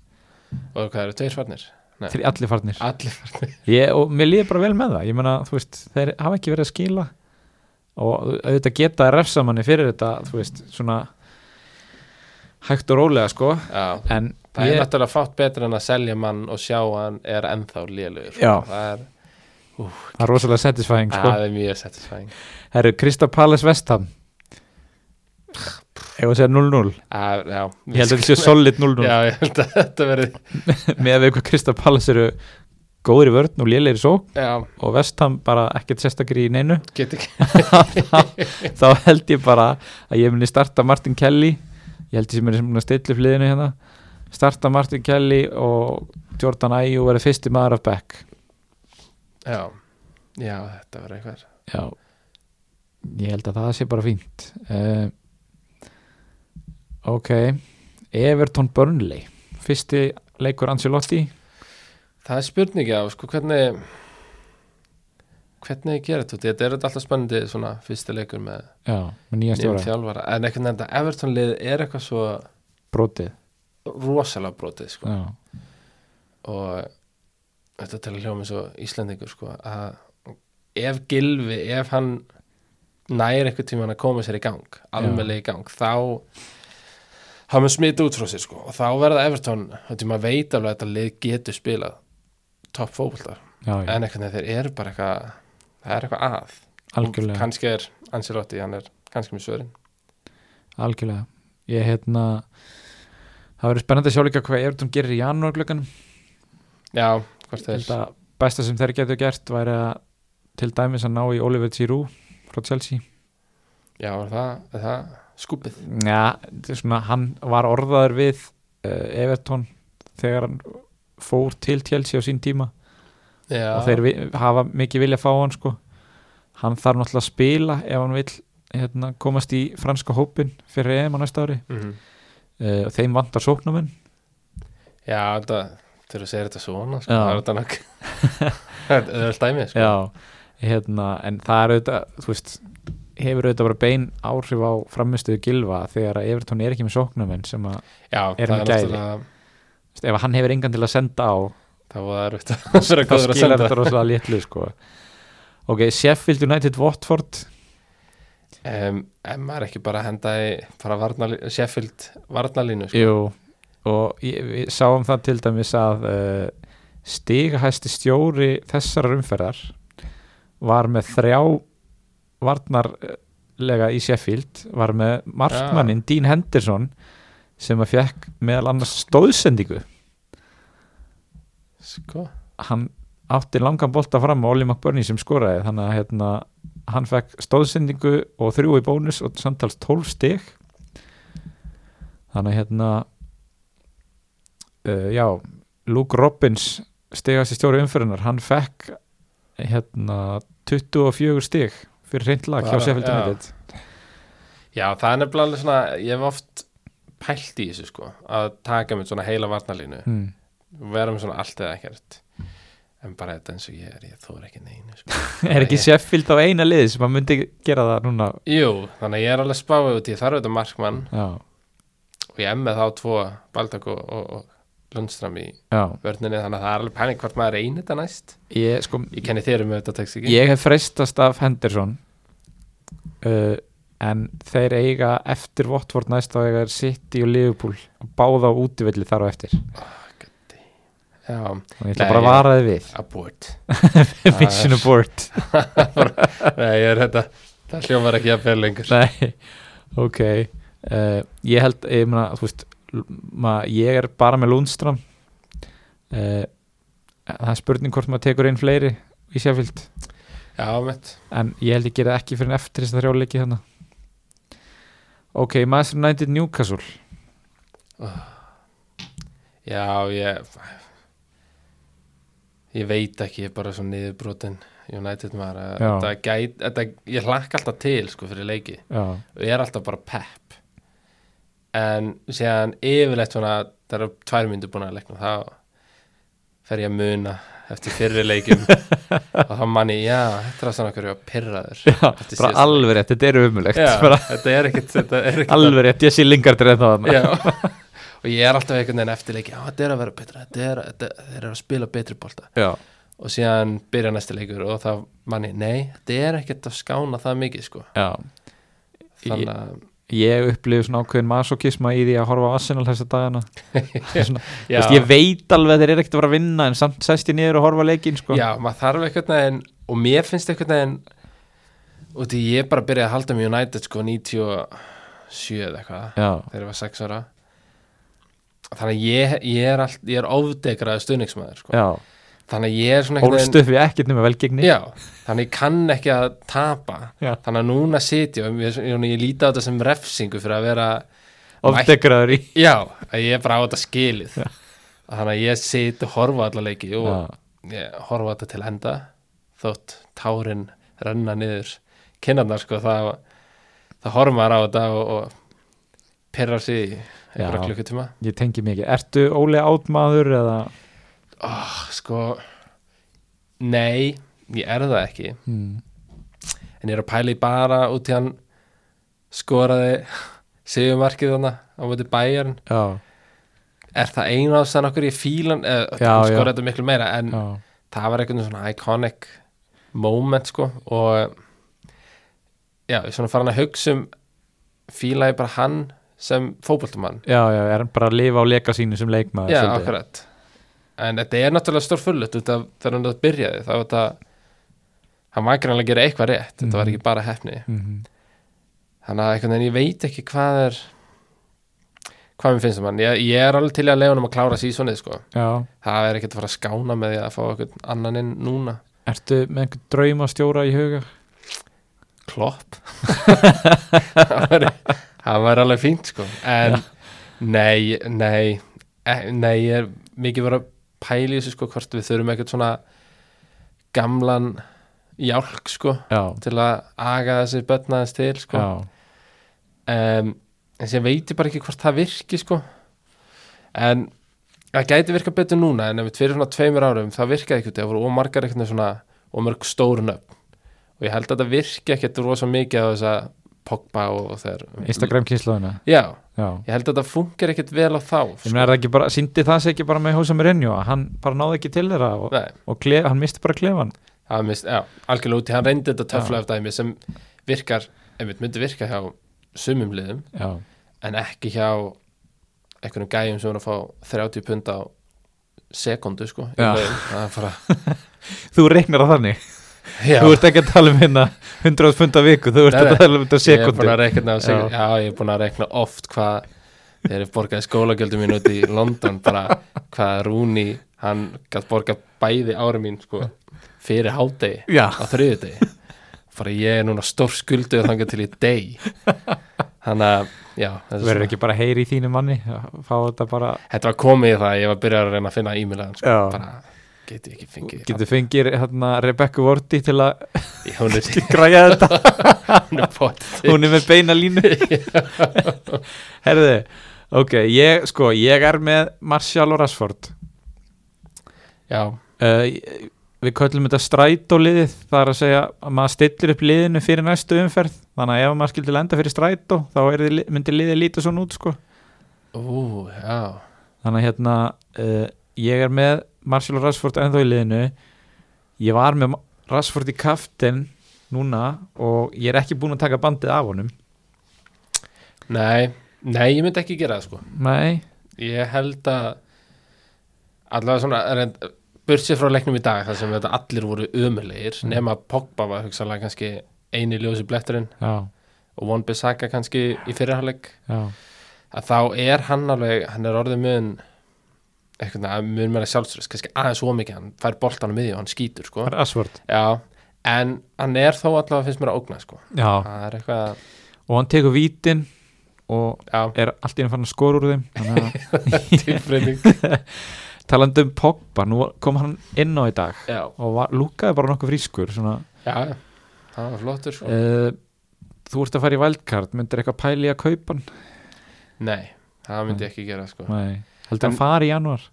Speaker 2: og hvað eru, tveir farnir? Nei.
Speaker 1: til allir farnir
Speaker 2: allir farnir,
Speaker 1: ég, og mér líður bara vel með það, ég meina þú veist, þeir hafa ekki verið að skila og auðvitað geta refsamanni fyrir þetta, þú veist, svona hægt og rólega sko
Speaker 2: já
Speaker 1: en
Speaker 2: það
Speaker 1: ég-
Speaker 2: er náttúrulega fátt betra en að selja mann og sjá að hann er ennþá lélugur
Speaker 1: Já.
Speaker 2: það er,
Speaker 1: það er rosalega satisfying sko.
Speaker 2: það er mjög satisfæðing
Speaker 1: Herru, Krista Palace Vestham Ef að segja 0-0
Speaker 2: já,
Speaker 1: Ég held að þetta sé solid 0-0
Speaker 2: já, ég held að þetta verið
Speaker 1: með að við hvað Krista Palace eru góðir í vörn og lélegir í sók
Speaker 2: já,
Speaker 1: og Vestham bara ekkert sérstakir í neinu
Speaker 2: get ekki
Speaker 1: þá held ég bara að ég muni starta Martin Kelly ég held ég sem er sem að stilla fliðinu hérna starta Martin Kelly og Jordan Ayew verið fyrsti maður af Beck
Speaker 2: já, já, þetta verið eitthvað
Speaker 1: Já Ég held að það sé bara fínt uh, Ok Everton Burnley Fyrsti leikur Ancelotti
Speaker 2: Það er spurningi af sko hvernig hvernig ég gera þetta þetta er alltaf spennandi svona fyrsta leikur með
Speaker 1: Já, með nýja
Speaker 2: nýjum
Speaker 1: stjóra
Speaker 2: þjálfara en einhvern veginn þetta Everton lið er eitthvað svo
Speaker 1: Brotið
Speaker 2: rosalega brotið sko
Speaker 1: Já,
Speaker 2: og þetta er til að hljóma svo Íslandingur sko að ef Gilvi, ef hann nær einhvern tímann að koma sér í gang almennlega í gang, þá hafa með smita út frá sér sko og þá verða Everton, þetta maður veit alveg að þetta lið getur spilað topp fótbolta
Speaker 1: já, já
Speaker 2: en einhvern veginn þeir eru bara eitthvað það er eitthvað að
Speaker 1: algjörlega
Speaker 2: kannski er Ancelotti, hann er kannski með svörin
Speaker 1: Algjörlega Ég hérna Það verður spennandi að sjá líka hvað Everton gerir í janúarglökan
Speaker 2: já, hvort þeir
Speaker 1: Þetta besta sem þeir getur gert væri að til dæmis að ná í Oliver Giroud frá Chelsea
Speaker 2: já, er það, er það skupið
Speaker 1: Já, svona, hann var orðaður við uh, Everton þegar hann fór til Chelsea á sín tíma
Speaker 2: já,
Speaker 1: og þeir vi- hafa mikið vilja að fá hann sko. hann þarf náttúrulega að spila ef hann vil hérna, komast í franska hópin fyrir EM á næsta ári
Speaker 2: Mhm.
Speaker 1: uh, og þeim vantar sóknumenn
Speaker 2: já, þetta þegar þú segir þetta svona sko,
Speaker 1: Já.
Speaker 2: það er þetta nokk það er alltaf dæmið sko.
Speaker 1: Já, hérna, en það er auðvitað, þú veist, hefur auðvitað bara bein áhrif á framistuðu gilva þegar að Everton er ekki með sóknumenn sem að,
Speaker 2: já,
Speaker 1: Er
Speaker 2: það
Speaker 1: hann
Speaker 2: er
Speaker 1: gæði?
Speaker 2: náttúrulega
Speaker 1: þú veist, ef hann hefur engan til að senda á
Speaker 2: það var erfitt að vera
Speaker 1: þá
Speaker 2: góður að
Speaker 1: skilar
Speaker 2: senda
Speaker 1: þetta rosalega litlu sko. ok, Sheffield United Watford
Speaker 2: um, en maður er ekki bara að henda í bara varnal, Sheffield varnalínu sko.
Speaker 1: Jú, og ég, við sáum það til dæmis að uh, stigahæsti stjóri þessarar umferðar var með þrjá varnarlega í Sheffield var með markmannin Dean Henderson sem að fekk meðal annars stóðsendingu
Speaker 2: sko,
Speaker 1: hann átti langan bolta fram á Ollie McBurney sem skoraði þannig að hérna, hann fekk stóðsendingu og þrjú í bónus og samtals 12 stig þannig að hérna uh, já Luke Robbins stigast í stjóri umfyrirnar hann fekk hérna 24 stig fyrir reyndlag hjá
Speaker 2: Bara,
Speaker 1: Sheffield
Speaker 2: já.
Speaker 1: United
Speaker 2: já, það er nefnilega alveg svona ég hef oft pælt í þessu sko að taka með svona heila varnalínu
Speaker 1: hmm.
Speaker 2: vera með svona allt eða ekkert en bara þetta eins og ég er, ég þóra ekki neinu sko.
Speaker 1: er ekki Sheffield á eina liði sem hann myndi gera það núna
Speaker 2: Jú, þannig að ég er alveg spáið út, ég þarf auðvitað markmann
Speaker 1: já,
Speaker 2: og ég em með þá tvo Baldak og, og, og Lundström í
Speaker 1: já.
Speaker 2: vörninni, þannig að það er alveg pæling hvort maður reynir þetta næst
Speaker 1: Ég, sko,
Speaker 2: Ég kenni þér um þetta tekst ekki
Speaker 1: ég hef freistast af Henderson uh, en þeir eiga eftir Votvort næst þá eiga þeir City og Liverpool og báða á útivilli þar á eftir
Speaker 2: Já,
Speaker 1: og ég ætla
Speaker 2: Nei,
Speaker 1: bara að
Speaker 2: já.
Speaker 1: vara þið við
Speaker 2: abort
Speaker 1: Vision abort
Speaker 2: Nei, ég er þetta, það hljómar ekki að fyrir lengur
Speaker 1: Nei, ok uh, ég held ég, mena, veist, ma, ég er bara með Lundström uh, það er spurning hvort maður tekur einn fleiri í Sheffield
Speaker 2: Já, mitt
Speaker 1: en ég held ég gera ekki fyrir en eftir þess að þrjáleiki þannig hérna. ok, Master United Newcastle
Speaker 2: Já, ég Ég veit ekki, ég er bara svo niðurbrotin United maður að
Speaker 1: Já.
Speaker 2: þetta gæt, þetta, Ég hlakka alltaf til sko fyrir leiki
Speaker 1: já,
Speaker 2: og ég er alltaf bara pepp en síðan yfirleitt svona það eru tvær myndir búin að leikna þá fer ég að muna eftir fyrri leikum og þá manni, já, þetta er svona okkur ég var pyrraður
Speaker 1: já
Speaker 2: Eftir
Speaker 1: bara
Speaker 2: síðasta
Speaker 1: alveg rétt, þetta er umulegt
Speaker 2: já,
Speaker 1: bara
Speaker 2: þetta er ekkert þetta er ekkert
Speaker 1: alveg rétt, ég sé lingard er ennþá þarna.
Speaker 2: já. og ég er alltaf einhvern veginn eftir leiki já, þetta er að vera betra, þetta er, þetta, þeir eru að spila betri bolta
Speaker 1: já,
Speaker 2: og síðan byrja næsti leikur og þá manni, nei, þetta er ekkert að skána það mikið, sko
Speaker 1: já
Speaker 2: þannig að,
Speaker 1: ég upplifu svona ákveðin masokisma í því að horfa á Arsenal þessa dagana svona,
Speaker 2: já,
Speaker 1: veist, ég veit alveg að þeir eru ekkert að fara að vinna en samt sæst ég niður og horfa á leikinn sko.
Speaker 2: Já, maður þarf einhvern veginn og mér finnst einhvern veginn og því ég bara byrjaði að halda með United sko 97 eða eitthvað
Speaker 1: já,
Speaker 2: þegar ég var 6 ára þannig að ég, ég er, all, ég er ofdegraði stuðningsmaður sko.
Speaker 1: já.
Speaker 2: þannig að ég er svona
Speaker 1: hólst upp við ekkert nema velgegni
Speaker 2: já, þannig að ég kann ekki að tapa
Speaker 1: Já.
Speaker 2: þannig að núna sit ég og mér- ég, ég líti á þetta sem refsingu fyrir að vera
Speaker 1: ofdegraður í
Speaker 2: já, að ég er bara á þetta skilið þannig að ég sit og horfa á alla leiki og
Speaker 1: já,
Speaker 2: ég horfa á þetta til enda þótt tárin renna niður kinnarnar sko það, það horfa maður á þetta og, og perrar sig í einhverja
Speaker 1: Já.
Speaker 2: klukkutíma
Speaker 1: ég tengi mikið, ertu Óli átmaður eða
Speaker 2: oh, sko nei, ég er það ekki
Speaker 1: hmm.
Speaker 2: en ég er að pæla í bara út í hann skoraði sigumarkið þarna á móti bæjarn
Speaker 1: já,
Speaker 2: er það einu ástæðan okkur ég fílan eh,
Speaker 1: Já,
Speaker 2: hann
Speaker 1: já.
Speaker 2: skoraði þetta miklu meira en
Speaker 1: já,
Speaker 2: það var einhvern svona iconic moment sko og já, ég er svona farin að hugsa um fílaði bara hann sem fótboltamann
Speaker 1: já, já er hann bara að lifa á leika sínu sem leikmaður
Speaker 2: já,
Speaker 1: svolítið?
Speaker 2: akkurat en þetta er náttúrulega stór fullut þegar hann byrjaði þá var þetta hann var greinlega að gera eitthvað rétt þetta var
Speaker 1: Mhm.
Speaker 2: ekki bara hefni
Speaker 1: Mhm.
Speaker 2: þannig að einhvern veginn ég veit ekki hvað er hvað mér finnst um hann ég, ég er alveg til í að leiða hann að klára sísonið sko
Speaker 1: já,
Speaker 2: það er ekkert að fara að skána með því að fá einhvern annan inn núna
Speaker 1: ertu með einhvern draumastjóra í huga
Speaker 2: Klopp það væri- það væri alveg fínt sko en nei, nei e- nei, ég er mikið verið að pæla í þessu sko hvort við þurfum ekkert svona gamlan jálk sko
Speaker 1: já,
Speaker 2: til að aga þessi bötnaðins til sko
Speaker 1: já,
Speaker 2: um, en sem veit ég bara ekki hvort það virki sko en það gæti virka betur núna en ef við fyrir svona tveimur árum það virkaði ekki það voru ómargar eitthvað svona ómörg stórun upp og ég held að þetta virki ekkert rosa mikið á þess að Pogba og, og þeir
Speaker 1: Instagram kyslaðuna
Speaker 2: já,
Speaker 1: já
Speaker 2: ég held að þetta funkar ekkert vel á þá
Speaker 1: Ég
Speaker 2: sko.
Speaker 1: meina, er það ekki bara, síndi það sig ekki bara með Hósa Mourinho að hann bara náði ekki til þeirra og,
Speaker 2: Nei,
Speaker 1: og klef, hann misti bara klefan
Speaker 2: það er mist, já, algjörlega úti, hann reyndi þetta töfla
Speaker 1: Já.
Speaker 2: af dæmi sem virkar, einmitt myndi virka hjá sumum liðum
Speaker 1: Já,
Speaker 2: en ekki hjá einhvernum gæjum sem er að fá 30 pund á sekundu sko í
Speaker 1: Já.
Speaker 2: laun. það er bara
Speaker 1: þú reiknar það þannig
Speaker 2: já,
Speaker 1: Þú ert ekki að tala um hérna 100 pund á viku, þú ert
Speaker 2: Nei,
Speaker 1: að
Speaker 2: nei.
Speaker 1: tala um þetta á
Speaker 2: ég er búin
Speaker 1: sekundu
Speaker 2: að reikna á
Speaker 1: Já.
Speaker 2: sekund, já. ég er búin að reikna oft hvað þegar ég borgaði skólagjöldum mín út í London bara hvað Rúni, hann gætt borgað bæði ári mín sko fyrir hádegi
Speaker 1: Já,
Speaker 2: á þriðudegi bara ég er núna stór skulduð þangar til í deg þannig að, já
Speaker 1: þú
Speaker 2: þetta er
Speaker 1: verður
Speaker 2: svona-
Speaker 1: ekki bara að heyri í þínu manni að fá þetta bara,
Speaker 2: þetta var komið í það, að ég var byrjað að reyna að finna e-mailaðan sko,
Speaker 1: Já.
Speaker 2: bara geti ekki fengið
Speaker 1: getur fengir hérna Rebecca Vorti til að
Speaker 2: Já, hún er
Speaker 1: græja þetta,
Speaker 2: hún er potið
Speaker 1: hún er með beina línu Herði, ok, ég, sko, ég er með Marshall og Rashford
Speaker 2: já,
Speaker 1: uh, við köllum þetta strætóliðið það er að segja að maður stillir upp liðinu fyrir næstu umferð þannig að ef maður skildi lenda fyrir strætó þá er, þið- myndi liðið lítið svona út sko.
Speaker 2: ú, já
Speaker 1: þannig að hérna uh, ég er með Marcelo Rashford ennþá í liðinu ég var með Ma- Rashford í kaftin núna og ég er ekki búin að taka bandið af honum
Speaker 2: nei, nei, ég myndi ekki gera það sko
Speaker 1: nei,
Speaker 2: ég held að allavega svona reynd, bursið frá leiknum í dag þar sem þetta
Speaker 1: Mm.
Speaker 2: allir voru ömulegir nema Pogba var hugsaðlega kannski eini ljósi bletturinn
Speaker 1: já,
Speaker 2: og One Bissaka kannski í fyrirháleik
Speaker 1: já,
Speaker 2: að þá er hann alveg, hann er orðið mun eitthvað, að mun meira sjálfstress kannski aðeins ómikið, hann fær boltan á miðju og hann skýtur, sko
Speaker 1: það er Asford
Speaker 2: já, en hann er þó allavega finnst mér að ógna, sko
Speaker 1: já,
Speaker 2: það er eitthvað,
Speaker 1: og hann tekur vítin og
Speaker 2: já,
Speaker 1: er allt í enn fann að skora úr þeim þannig að
Speaker 2: tilbreyning
Speaker 1: talandi um Pogba, nú kom hann inn á í dag
Speaker 2: já,
Speaker 1: og var, lúkaði bara nokkuð frískur svona,
Speaker 2: já, já. það var flottur, sko
Speaker 1: uh, þú ert að fara í wildcard myndir eitthvað pæli í að kaupa hann
Speaker 2: nei, það myndi ég ekki gera, sko
Speaker 1: Nei. heldur
Speaker 2: En-
Speaker 1: hann fari í januar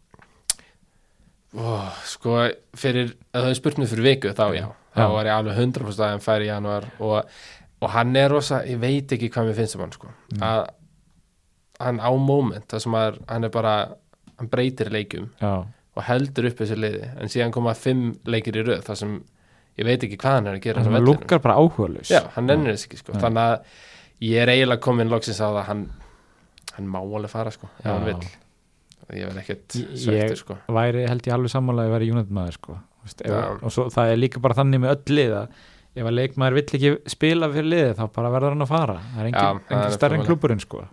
Speaker 2: Ó, sko, fyrir að það er spurt mér fyrir viku þá já, þá
Speaker 1: Já.
Speaker 2: var ég alveg 100% að hann færi í januar og, og hann er rosa, ég veit ekki hvað mér finnst um hann sko, að hann á moment, það sem að hann er bara hann breytir leikjum
Speaker 1: já,
Speaker 2: og heldur upp þessu liði, en síðan koma fimm leikir í röð, það sem ég veit ekki hvað hann er að gera á
Speaker 1: hann
Speaker 2: vellinum.
Speaker 1: lúkar bara áhugaðlaus
Speaker 2: Já, hann nennir þess ekki sko, þannig að ég er eiginlega komin loksins á það að hann, hann má alveg fara sko, ef
Speaker 1: Já.
Speaker 2: hann vill ég verð ekkert
Speaker 1: Ég- ég-
Speaker 2: svektur sko
Speaker 1: væri held ég alveg sammálaði að vera United maður sko. Þú veist, ef,
Speaker 2: Já.
Speaker 1: og svo, það er líka bara þannig með öll lið að ef að leikmaður vill ekki spila fyrir liðið þá bara verður hann að fara það er
Speaker 2: Já,
Speaker 1: engin,
Speaker 2: það er
Speaker 1: engin stærri en
Speaker 2: náttúrulega.
Speaker 1: klúburinn sko.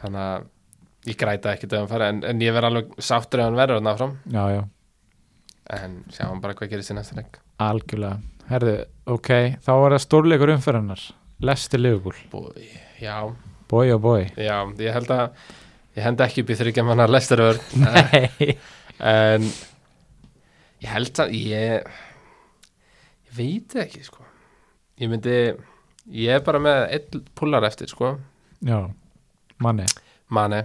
Speaker 2: þannig að ég græta ekkert ef hann fara en, en ég verð alveg sáttur ef hann verður hann áfram
Speaker 1: já, já,
Speaker 2: en sjáum bara hvað gerist í næsta leik
Speaker 1: algjörlega herðu, ok, þá er það stórleikur umferðarnar Lesti Liverpool,
Speaker 2: Búi, já,
Speaker 1: boy og boy
Speaker 2: já, ég held að ég hend ekki upp í þryggja manna lestaröður
Speaker 1: nei,
Speaker 2: en ég held að ég, ég veit ekki sko ég myndi ég er bara með einn púlar eftir sko
Speaker 1: já, manni
Speaker 2: manni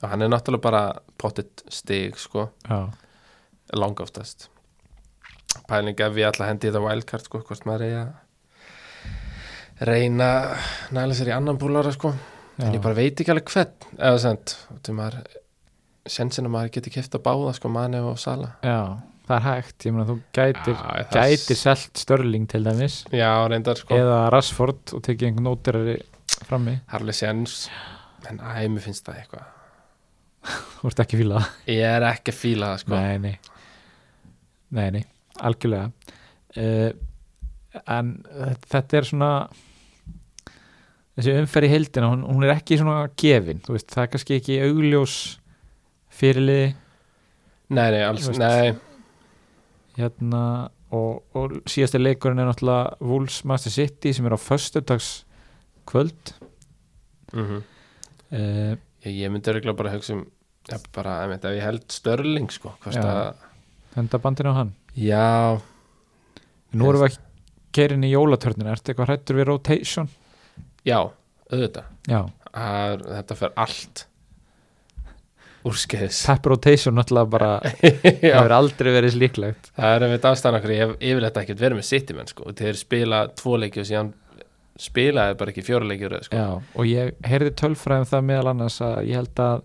Speaker 2: og hann er náttúrulega bara pottitt stig sko
Speaker 1: já,
Speaker 2: langoftast pæling ef ég ætla að hendi í þetta wildcard sko, hvort maður eigi að reyna að næla sér í annan búlara sko,
Speaker 1: já,
Speaker 2: en ég bara veit ekki alveg hvern eða sent, til maður sensin að maður geti kipta báða sko, manni og sala
Speaker 1: já það er hægt, ég meina þú gætir
Speaker 2: Já, ég- það-
Speaker 1: gætir selt Störling til dæmis
Speaker 2: já, reyndar sko,
Speaker 1: eða Rashford og tekið einhvern óterari frammi,
Speaker 2: harlega sens en æ, mér finnst það eitthvað
Speaker 1: þú ert ekki fílað
Speaker 2: ég er ekki að fíla það sko
Speaker 1: Nei, nei Nei, nei, algjörlega uh, En eh, þetta er svona þessi umferð í heildina hún, hún er ekki svona gefin þú veist, það er kannski ekki augljós fyrirliði
Speaker 2: nei, nei, alls,
Speaker 1: Þú veist.
Speaker 2: nei,
Speaker 1: hérna og, og síðasti leikurinn er náttúrulega Wolves Master City sem er á föstudags kvöld
Speaker 2: mhm
Speaker 1: uh,
Speaker 2: ég, ég myndi örgulega bara hugsa um ja, bara, einmitt, ef ég held störling sko, hvort
Speaker 1: Já.
Speaker 2: að
Speaker 1: henda bandinu á hann
Speaker 2: já,
Speaker 1: Nú erum við að keirin í jólatörnina ertu eitthvað hrættur við rotation?
Speaker 2: já, auðvitað
Speaker 1: Já,
Speaker 2: að þetta fer allt úrskeiðis
Speaker 1: tap rotation náttúrulega bara það
Speaker 2: Já,
Speaker 1: er aldrei verið slíklegt
Speaker 2: það er einmitt afstæðan okkur ég hef yfirleitt ekkert verið með City menn sko og þeir spila tvo leiki og síðan spilaði bara ekki fjóra leiki úr röð, sko.
Speaker 1: Já, og ég heyrði tölfræðum það meðal annars að ég held að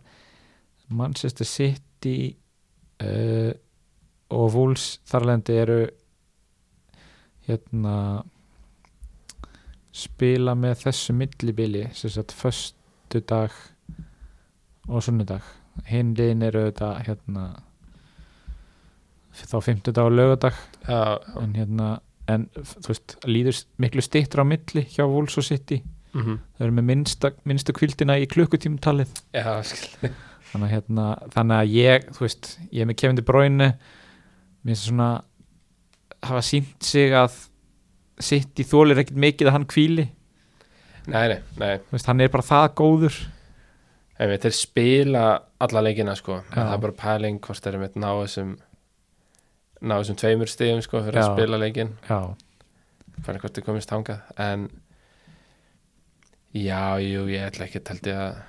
Speaker 1: Manchester City uh, og Wolves þarlendi eru hérna spila með þessu millibili sem sagt föstudag og sunnudag hinn liðin eru þetta hérna þá fimmtudag og lögadag
Speaker 2: já, já.
Speaker 1: en hérna en þú veist, líður miklu stittra á milli hjá Wolves og City
Speaker 2: Mm -hmm.
Speaker 1: þau eru með minnsta, minnstu kvildina í klukkutímtalið
Speaker 2: já skil
Speaker 1: þannig að, hérna, þannig að ég þú veist, ég er með kefindi bróinu minnst svona hafa sínt sig að sitt í þólir ekkert mikið að hann kvíli
Speaker 2: nei, nei, nei,
Speaker 1: þú veist, hann er bara það góður
Speaker 2: einmitt þeir spila alla leikina sko,
Speaker 1: Já.
Speaker 2: það er bara pæling hvort þeir einmitt ná þessum ná þessum tveimur stigum sko
Speaker 1: Já.
Speaker 2: fyrir að spila leikin
Speaker 1: já,
Speaker 2: hvernig hvort þið komist hangað en já, jú, ég ætla ekki held ég að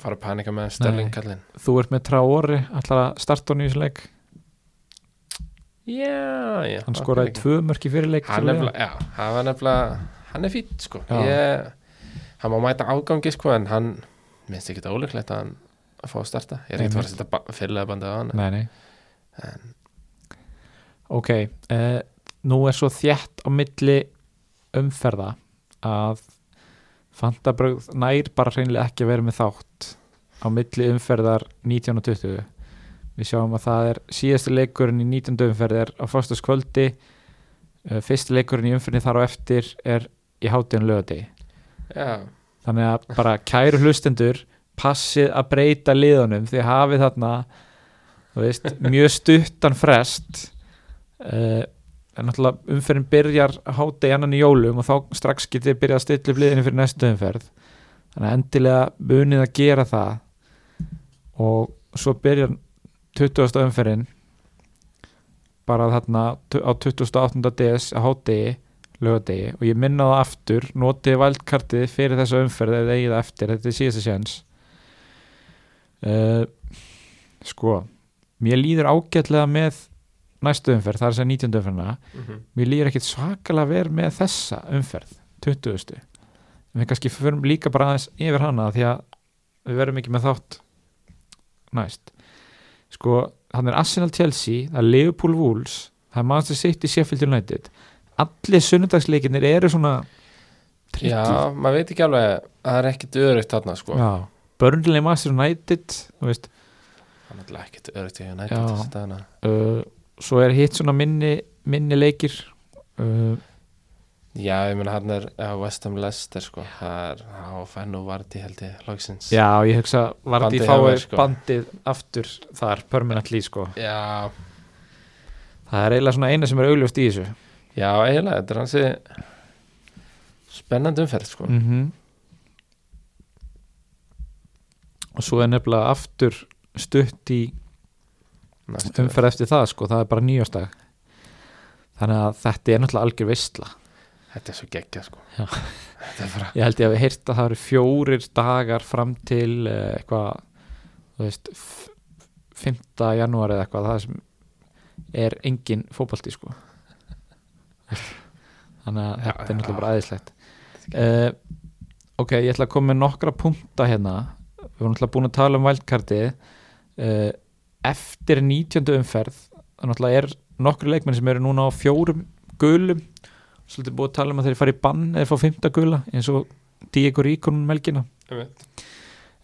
Speaker 2: fara að panika með Sterling
Speaker 1: Nei.
Speaker 2: kallinn
Speaker 1: þú ert með Traori allar að starta hann í þessu leik
Speaker 2: já, já
Speaker 1: hann skoraði
Speaker 2: ekki.
Speaker 1: tvö mörki fyrir leik
Speaker 2: hann nefnilega, já, hann var nefnilega hann er fýtt, sko
Speaker 1: Já.
Speaker 2: ég, hann má mæta ágangi, sko, en hann minnst ekki óleiklegt að hann að fá að starta ég er
Speaker 1: Nei,
Speaker 2: ekkert að fara að setja fyrirlega bandið á hann
Speaker 1: nei, nei. ok uh, nú er svo þjætt á milli umferða að fantabröð nær bara hreinlega ekki að vera með þátt á milli umferðar 19 og 20 við sjáum að það er síðasti leikurinn í Eh, 19. umferð er á fóstaskvöldi fyrsti leikurinn í umferðin þar á eftir er í hátíðan lögadegi
Speaker 2: já,
Speaker 1: þannig að bara kæru hlustendur passið að breyta liðunum því hafið þarna þú veist, mjög stuttan frest uh, en náttúrulega umferðin byrjar hátta í annan í jólum og þá strax getið þið byrjað að stilla upp liðinu fyrir næstu umferð þannig að endilega munið að gera það og svo byrjar 20. umferðin bara þarna tu- á 28. DS að hátegi lögadegi og ég minna það aftur notið valdkartið fyrir þessa umferð eða eigið það eftir, þetta er síðasta sjans uh, sko mér líður ágætlega með næstu umferð, það er sem 19. umferðina
Speaker 2: mhm,
Speaker 1: mér líður ekkit svakalega verð með þessa umferð 20. en við kannski förum líka bara aðeins yfir hana því að við verðum ekki með þátt næst sko, hann er Arsenal Chelsea það er Liverpool Wolves það er Manchester City Sheffield United allir sunnudagsleikinir eru svona tricky.
Speaker 2: já, maður veit ekki alveg það er ekkit örugt þarna sko
Speaker 1: já. Burnley Manchester United þú veist,
Speaker 2: það er náttúrulega ekkit örugt í
Speaker 1: Já.
Speaker 2: United þessa dagana
Speaker 1: uh, svo er hitt svona minni, minni leikir uh,
Speaker 2: já, ég meina hann er já, West Ham Leicester sko það er, þá fær nú Vardí held ég loksins
Speaker 1: já, ég hugsa var
Speaker 2: Bandið
Speaker 1: því
Speaker 2: hjá
Speaker 1: fáið
Speaker 2: mér, sko.
Speaker 1: bandið aftur þar, permanently sko
Speaker 2: já,
Speaker 1: Það er eiginlega svona eina sem er augljóst í þessu
Speaker 2: já, eiginlega, þetta er hansi spennandi umferð
Speaker 1: Mm,
Speaker 2: sko
Speaker 1: Mhm. Og svo er nefnilega aftur stutt í
Speaker 2: Næstu umferð.
Speaker 1: umferð eftir það sko, það er bara nýjóstag Þannig að þetta er náttúrulega algjör veistla
Speaker 2: þetta er svo geggja sko
Speaker 1: Já.
Speaker 2: þetta er bara
Speaker 1: Ég held ég að við heyrt að það eru fjórir dagar fram til eh, eitthvað, þú veist f- 5. janúar eða eitthvað það sem er engin fótbolti sko Þannig að
Speaker 2: Já,
Speaker 1: þetta er
Speaker 2: já.
Speaker 1: náttúrulega bara aðeinslegt uh, Ok, ég ætla að koma með nokkra punkta hérna Við vorum náttúrulega búin að tala um vældkartið uh, Eftir 19. umferð það náttúrulega er nokkru leikmenn sem eru núna á fjórum gulum Svolítið búið að tala um að þeir fara í bann eða fá 5. gula eins og Diego Ríkonum melgina
Speaker 2: Einmitt.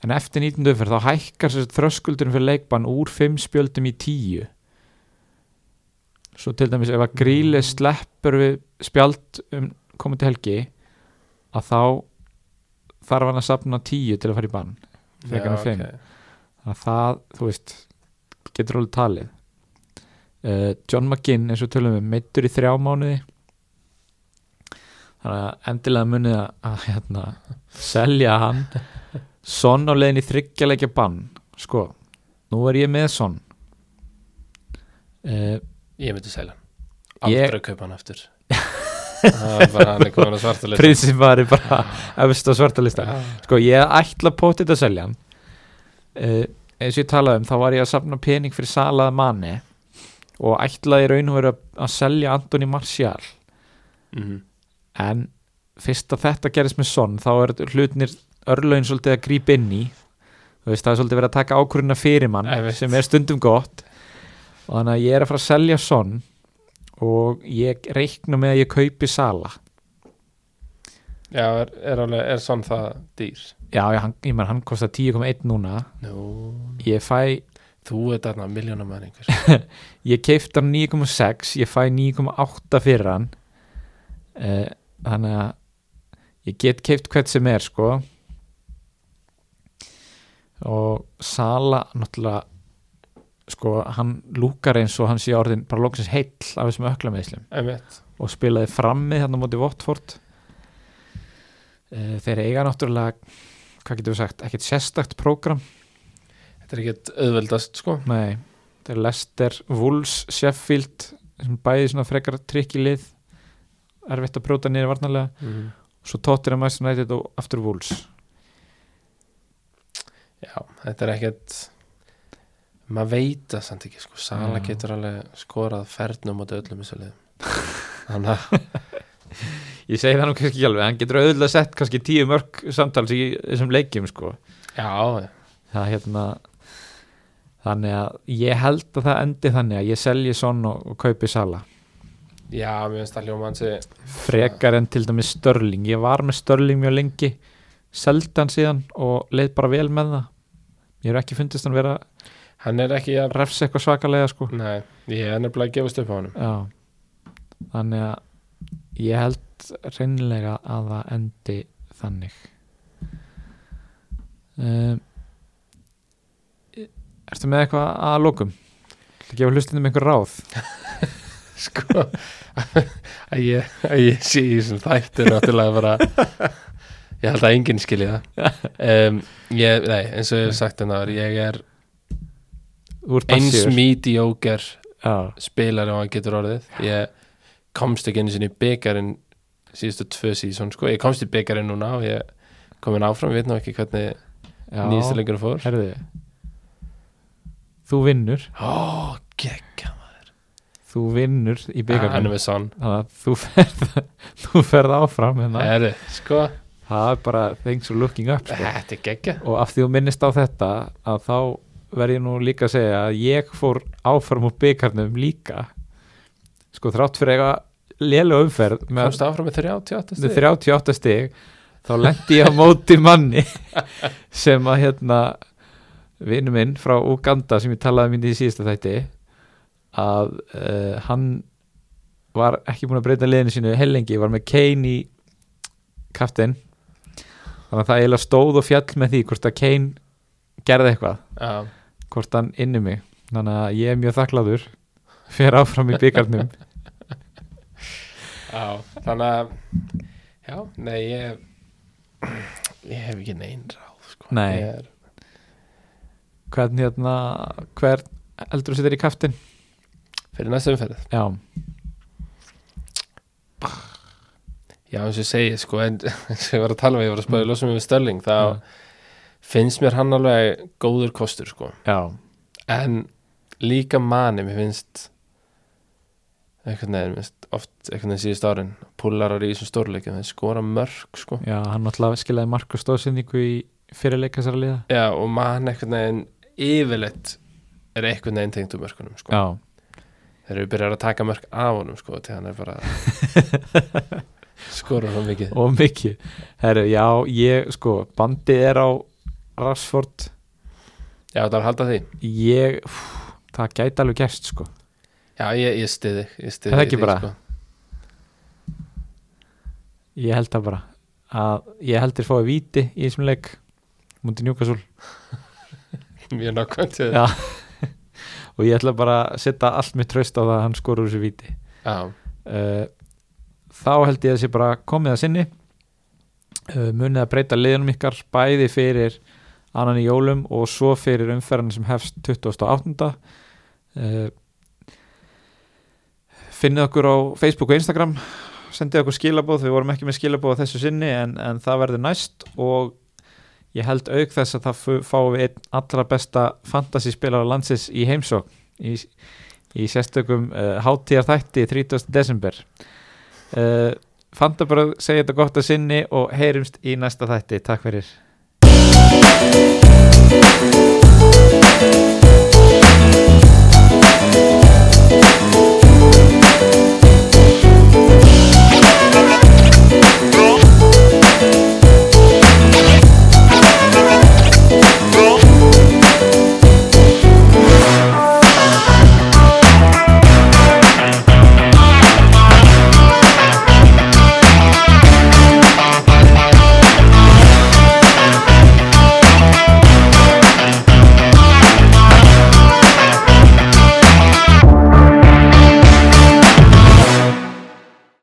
Speaker 1: En eftir 19. umferð þá hækkar sér þröskuldurinn fyrir leikbann úr 5 spjöldum í 10 Svo til dæmis ef að gríli sleppur við spjald um komandi helgi að þá þarf hann að safna 10 til að fara í bann Frekar en
Speaker 2: Já,
Speaker 1: fimm.
Speaker 2: ok.
Speaker 1: að það, þú veist getur alveg talið uh, John McGinn eins og tölum við meittur í þrjá mánuði þannig að endilega munið að, að hérna, selja hann Son á leiðin í þryggjalegja bann sko, nú er ég með Son uh,
Speaker 2: ég myndi selja hann
Speaker 1: Ég-
Speaker 2: aldrei kaupa hann aftur það er bara hann er komin að svarta lista
Speaker 1: prinsipari bara efst á svartalista
Speaker 2: Já.
Speaker 1: sko ég ætla potið að selja hann uh, eins og ég talaði um þá var ég að safna pening fyrir salað manni og ætlaði í raun og veru að- að selja Antoni Martial
Speaker 2: Mhm.
Speaker 1: en fyrst að þetta gerist með sonn þá er hlutnir örlögin svolítið að grípa inn í þú veist það er svolítið verið að taka ákvörðina fyrir mann
Speaker 2: Einmitt.
Speaker 1: sem er stundum gott og þannig að ég er að fara að selja sonn og ég reikna með að ég kaupi sala
Speaker 2: já, er, er alveg, er sann það dýr
Speaker 1: já, ég, hann, ég menn hann kostar 10,1 núna
Speaker 2: nú,
Speaker 1: ég fæ
Speaker 2: þú ert þarna miljónum að einhver
Speaker 1: ég keipta hann 9,6 ég fæ 9,8 fyrir hann uh, þannig að ég get keipt hvert sem er sko og Sala náttúrulega sko hann lúkar eins og hann sé orðin bara lóksins heill af þessum öklameðslum
Speaker 2: einmitt,
Speaker 1: og spilaði frammi þarna á móti Votford uh, þeir eiga náttúrulega hvað getum við sagt, ekkert sérstakt prógram
Speaker 2: þetta er ekkert auðveldast sko
Speaker 1: Nei, þetta er Leicester, Wolves, Sheffield sem bæði svona frekar trikki lið erfitt að brjóta niður varnarlega
Speaker 2: mm.
Speaker 1: svo tóttir að mæst nættið og aftur Wolves
Speaker 2: já, þetta er ekkert maður veit það samt ekki sko Sala
Speaker 1: Já.
Speaker 2: getur alveg skorað fernum á öllum þessu liðum þannig að
Speaker 1: Ég segi það nú kannski ekki alveg, hann getur auðvitað sett kannski tíu mörg samtals í þessum leikjum sko
Speaker 2: já,
Speaker 1: það hérna þannig að ég held að það endi þannig að ég selji sonn og, og kaupi sala
Speaker 2: já, mér finnst það hljóma hansi
Speaker 1: frekar en til dæmis Störling ég var með Störling mjög lengi seldi hann síðan og leið bara vel með það ég hef ekki fundist hann vera
Speaker 2: hann er ekki að
Speaker 1: refs eitthvað svakalega sko
Speaker 2: nei, ég er nefnilega að gefast upp á hann
Speaker 1: já. þannig að ég held held reynlega að það endi þannig um, e- Ertu með eitthvað að lokum? Það gefa hlustinu með einhver ráð
Speaker 2: sko að ég, að ég sé í þessum þættir náttúrulega bara ég held að enginn skilji það um, ég, nei, eins og ég hef sagt þannig að ég er
Speaker 1: Þú ert
Speaker 2: eins
Speaker 1: passífur.
Speaker 2: mediocre
Speaker 1: Já,
Speaker 2: spilari og hann getur orðið ég komst ekki einu sinni í byggarinn síðustu tvö síðan sko ég komst í byggarinn núna og ég komin áfram, við veitum ekki hvernig
Speaker 1: já
Speaker 2: nýjastu lengur fór
Speaker 1: Herði Þú vinnur
Speaker 2: ó, geggja
Speaker 1: Þú vinnur í
Speaker 2: hann
Speaker 1: byggarnum
Speaker 2: er með sonn
Speaker 1: Þannig að þú ferð, þú ferð áfram hérna.
Speaker 2: Heru, sko,
Speaker 1: Það er bara things are looking up sko.
Speaker 2: þetta er geggja
Speaker 1: og af því þú minnist á þetta að þá verð ég nú líka að segja að ég fór áfram úr byggarnum líka sko þrátt fyrir eitthvað lélu umferð með
Speaker 2: komst áfram með 38
Speaker 1: með
Speaker 2: stig
Speaker 1: 38 stig þá lendi ég á móti manni sem að hérna vinnu minn frá Uganda sem ég talaði minni í síðasta þætti að uh, hann var ekki búin að breyta liðinu sínu hellingi, var með Kane í kaftin þannig að það eiginlega stóð og fjall með því hvort að Kane gerði eitthvað
Speaker 2: Já.
Speaker 1: hvort hann inni mig þannig að ég er mjög þakkláður fyrir áfram í byggarnum
Speaker 2: Já, þannig að Já, nei, ég Ég hef ekki neinn ráð sko.
Speaker 1: Nei.
Speaker 2: Ég er,
Speaker 1: hvern hérna, hvern heldur þú sér þér í kaftin?
Speaker 2: Fyrir næstu umferð
Speaker 1: Já,
Speaker 2: Já, eins og ég segi, sko, en eins og ég var að tala um, ég var að spáði mm. losum við Störling, þá
Speaker 1: Já.
Speaker 2: finnst mér hann alveg góður kostur, sko
Speaker 1: já
Speaker 2: en líka manni, mér finnst einhvern veginn, mér finnst oft einhvern veginn síðust árin, púlarar í þessum stórleikum, þeir skora mörg, sko
Speaker 1: Já, hann náttúrulega skilaði Marko stóðsendingu í fyrirleika þessara liða
Speaker 2: Já, og mann einhvern veginn yfirleitt er einhvern veginn tengd um mörkunum, sko
Speaker 1: Já,
Speaker 2: þegar við byrjar að taka mörg af honum sko, til hann er bara skorur hann mikið
Speaker 1: og mikið Herru, já, ég, sko, bandið er á Rashford
Speaker 2: já það er að halda því,
Speaker 1: Ég, fú, það gæti alveg gerst, sko
Speaker 2: já ég, ég stiði ég stiði
Speaker 1: Er það ekki bara?
Speaker 2: sko.
Speaker 1: Ég held það bara að ég heldur fáið víti í þessum leik mútið njúkasúl
Speaker 2: mjög nokkvæmt til
Speaker 1: Já. og ég ætla bara að setja allt mitt traust á það að hann skorur þessu víti
Speaker 2: já,
Speaker 1: uh, þá held ég að sé bara komið að sinni uh, munið að breyta liðunum ykkar bæði fyrir annan í jólum og svo fyrir umferðin sem hefst 28. Uh, finnið okkur á Facebook og Instagram sendið okkur skilabóð, við vorum ekki með skilabóð á þessu sinni en, en það verður næst og ég held auk þess að það fu- fáum við einn allra besta fantasy spilar landsins í heimsókn í, í sérstökum uh, hátíjar þætti 30. desember uh, Fanta bara segja þetta gott að sinni og heyrumst í næsta þætti, takk fyrir
Speaker 3: Thank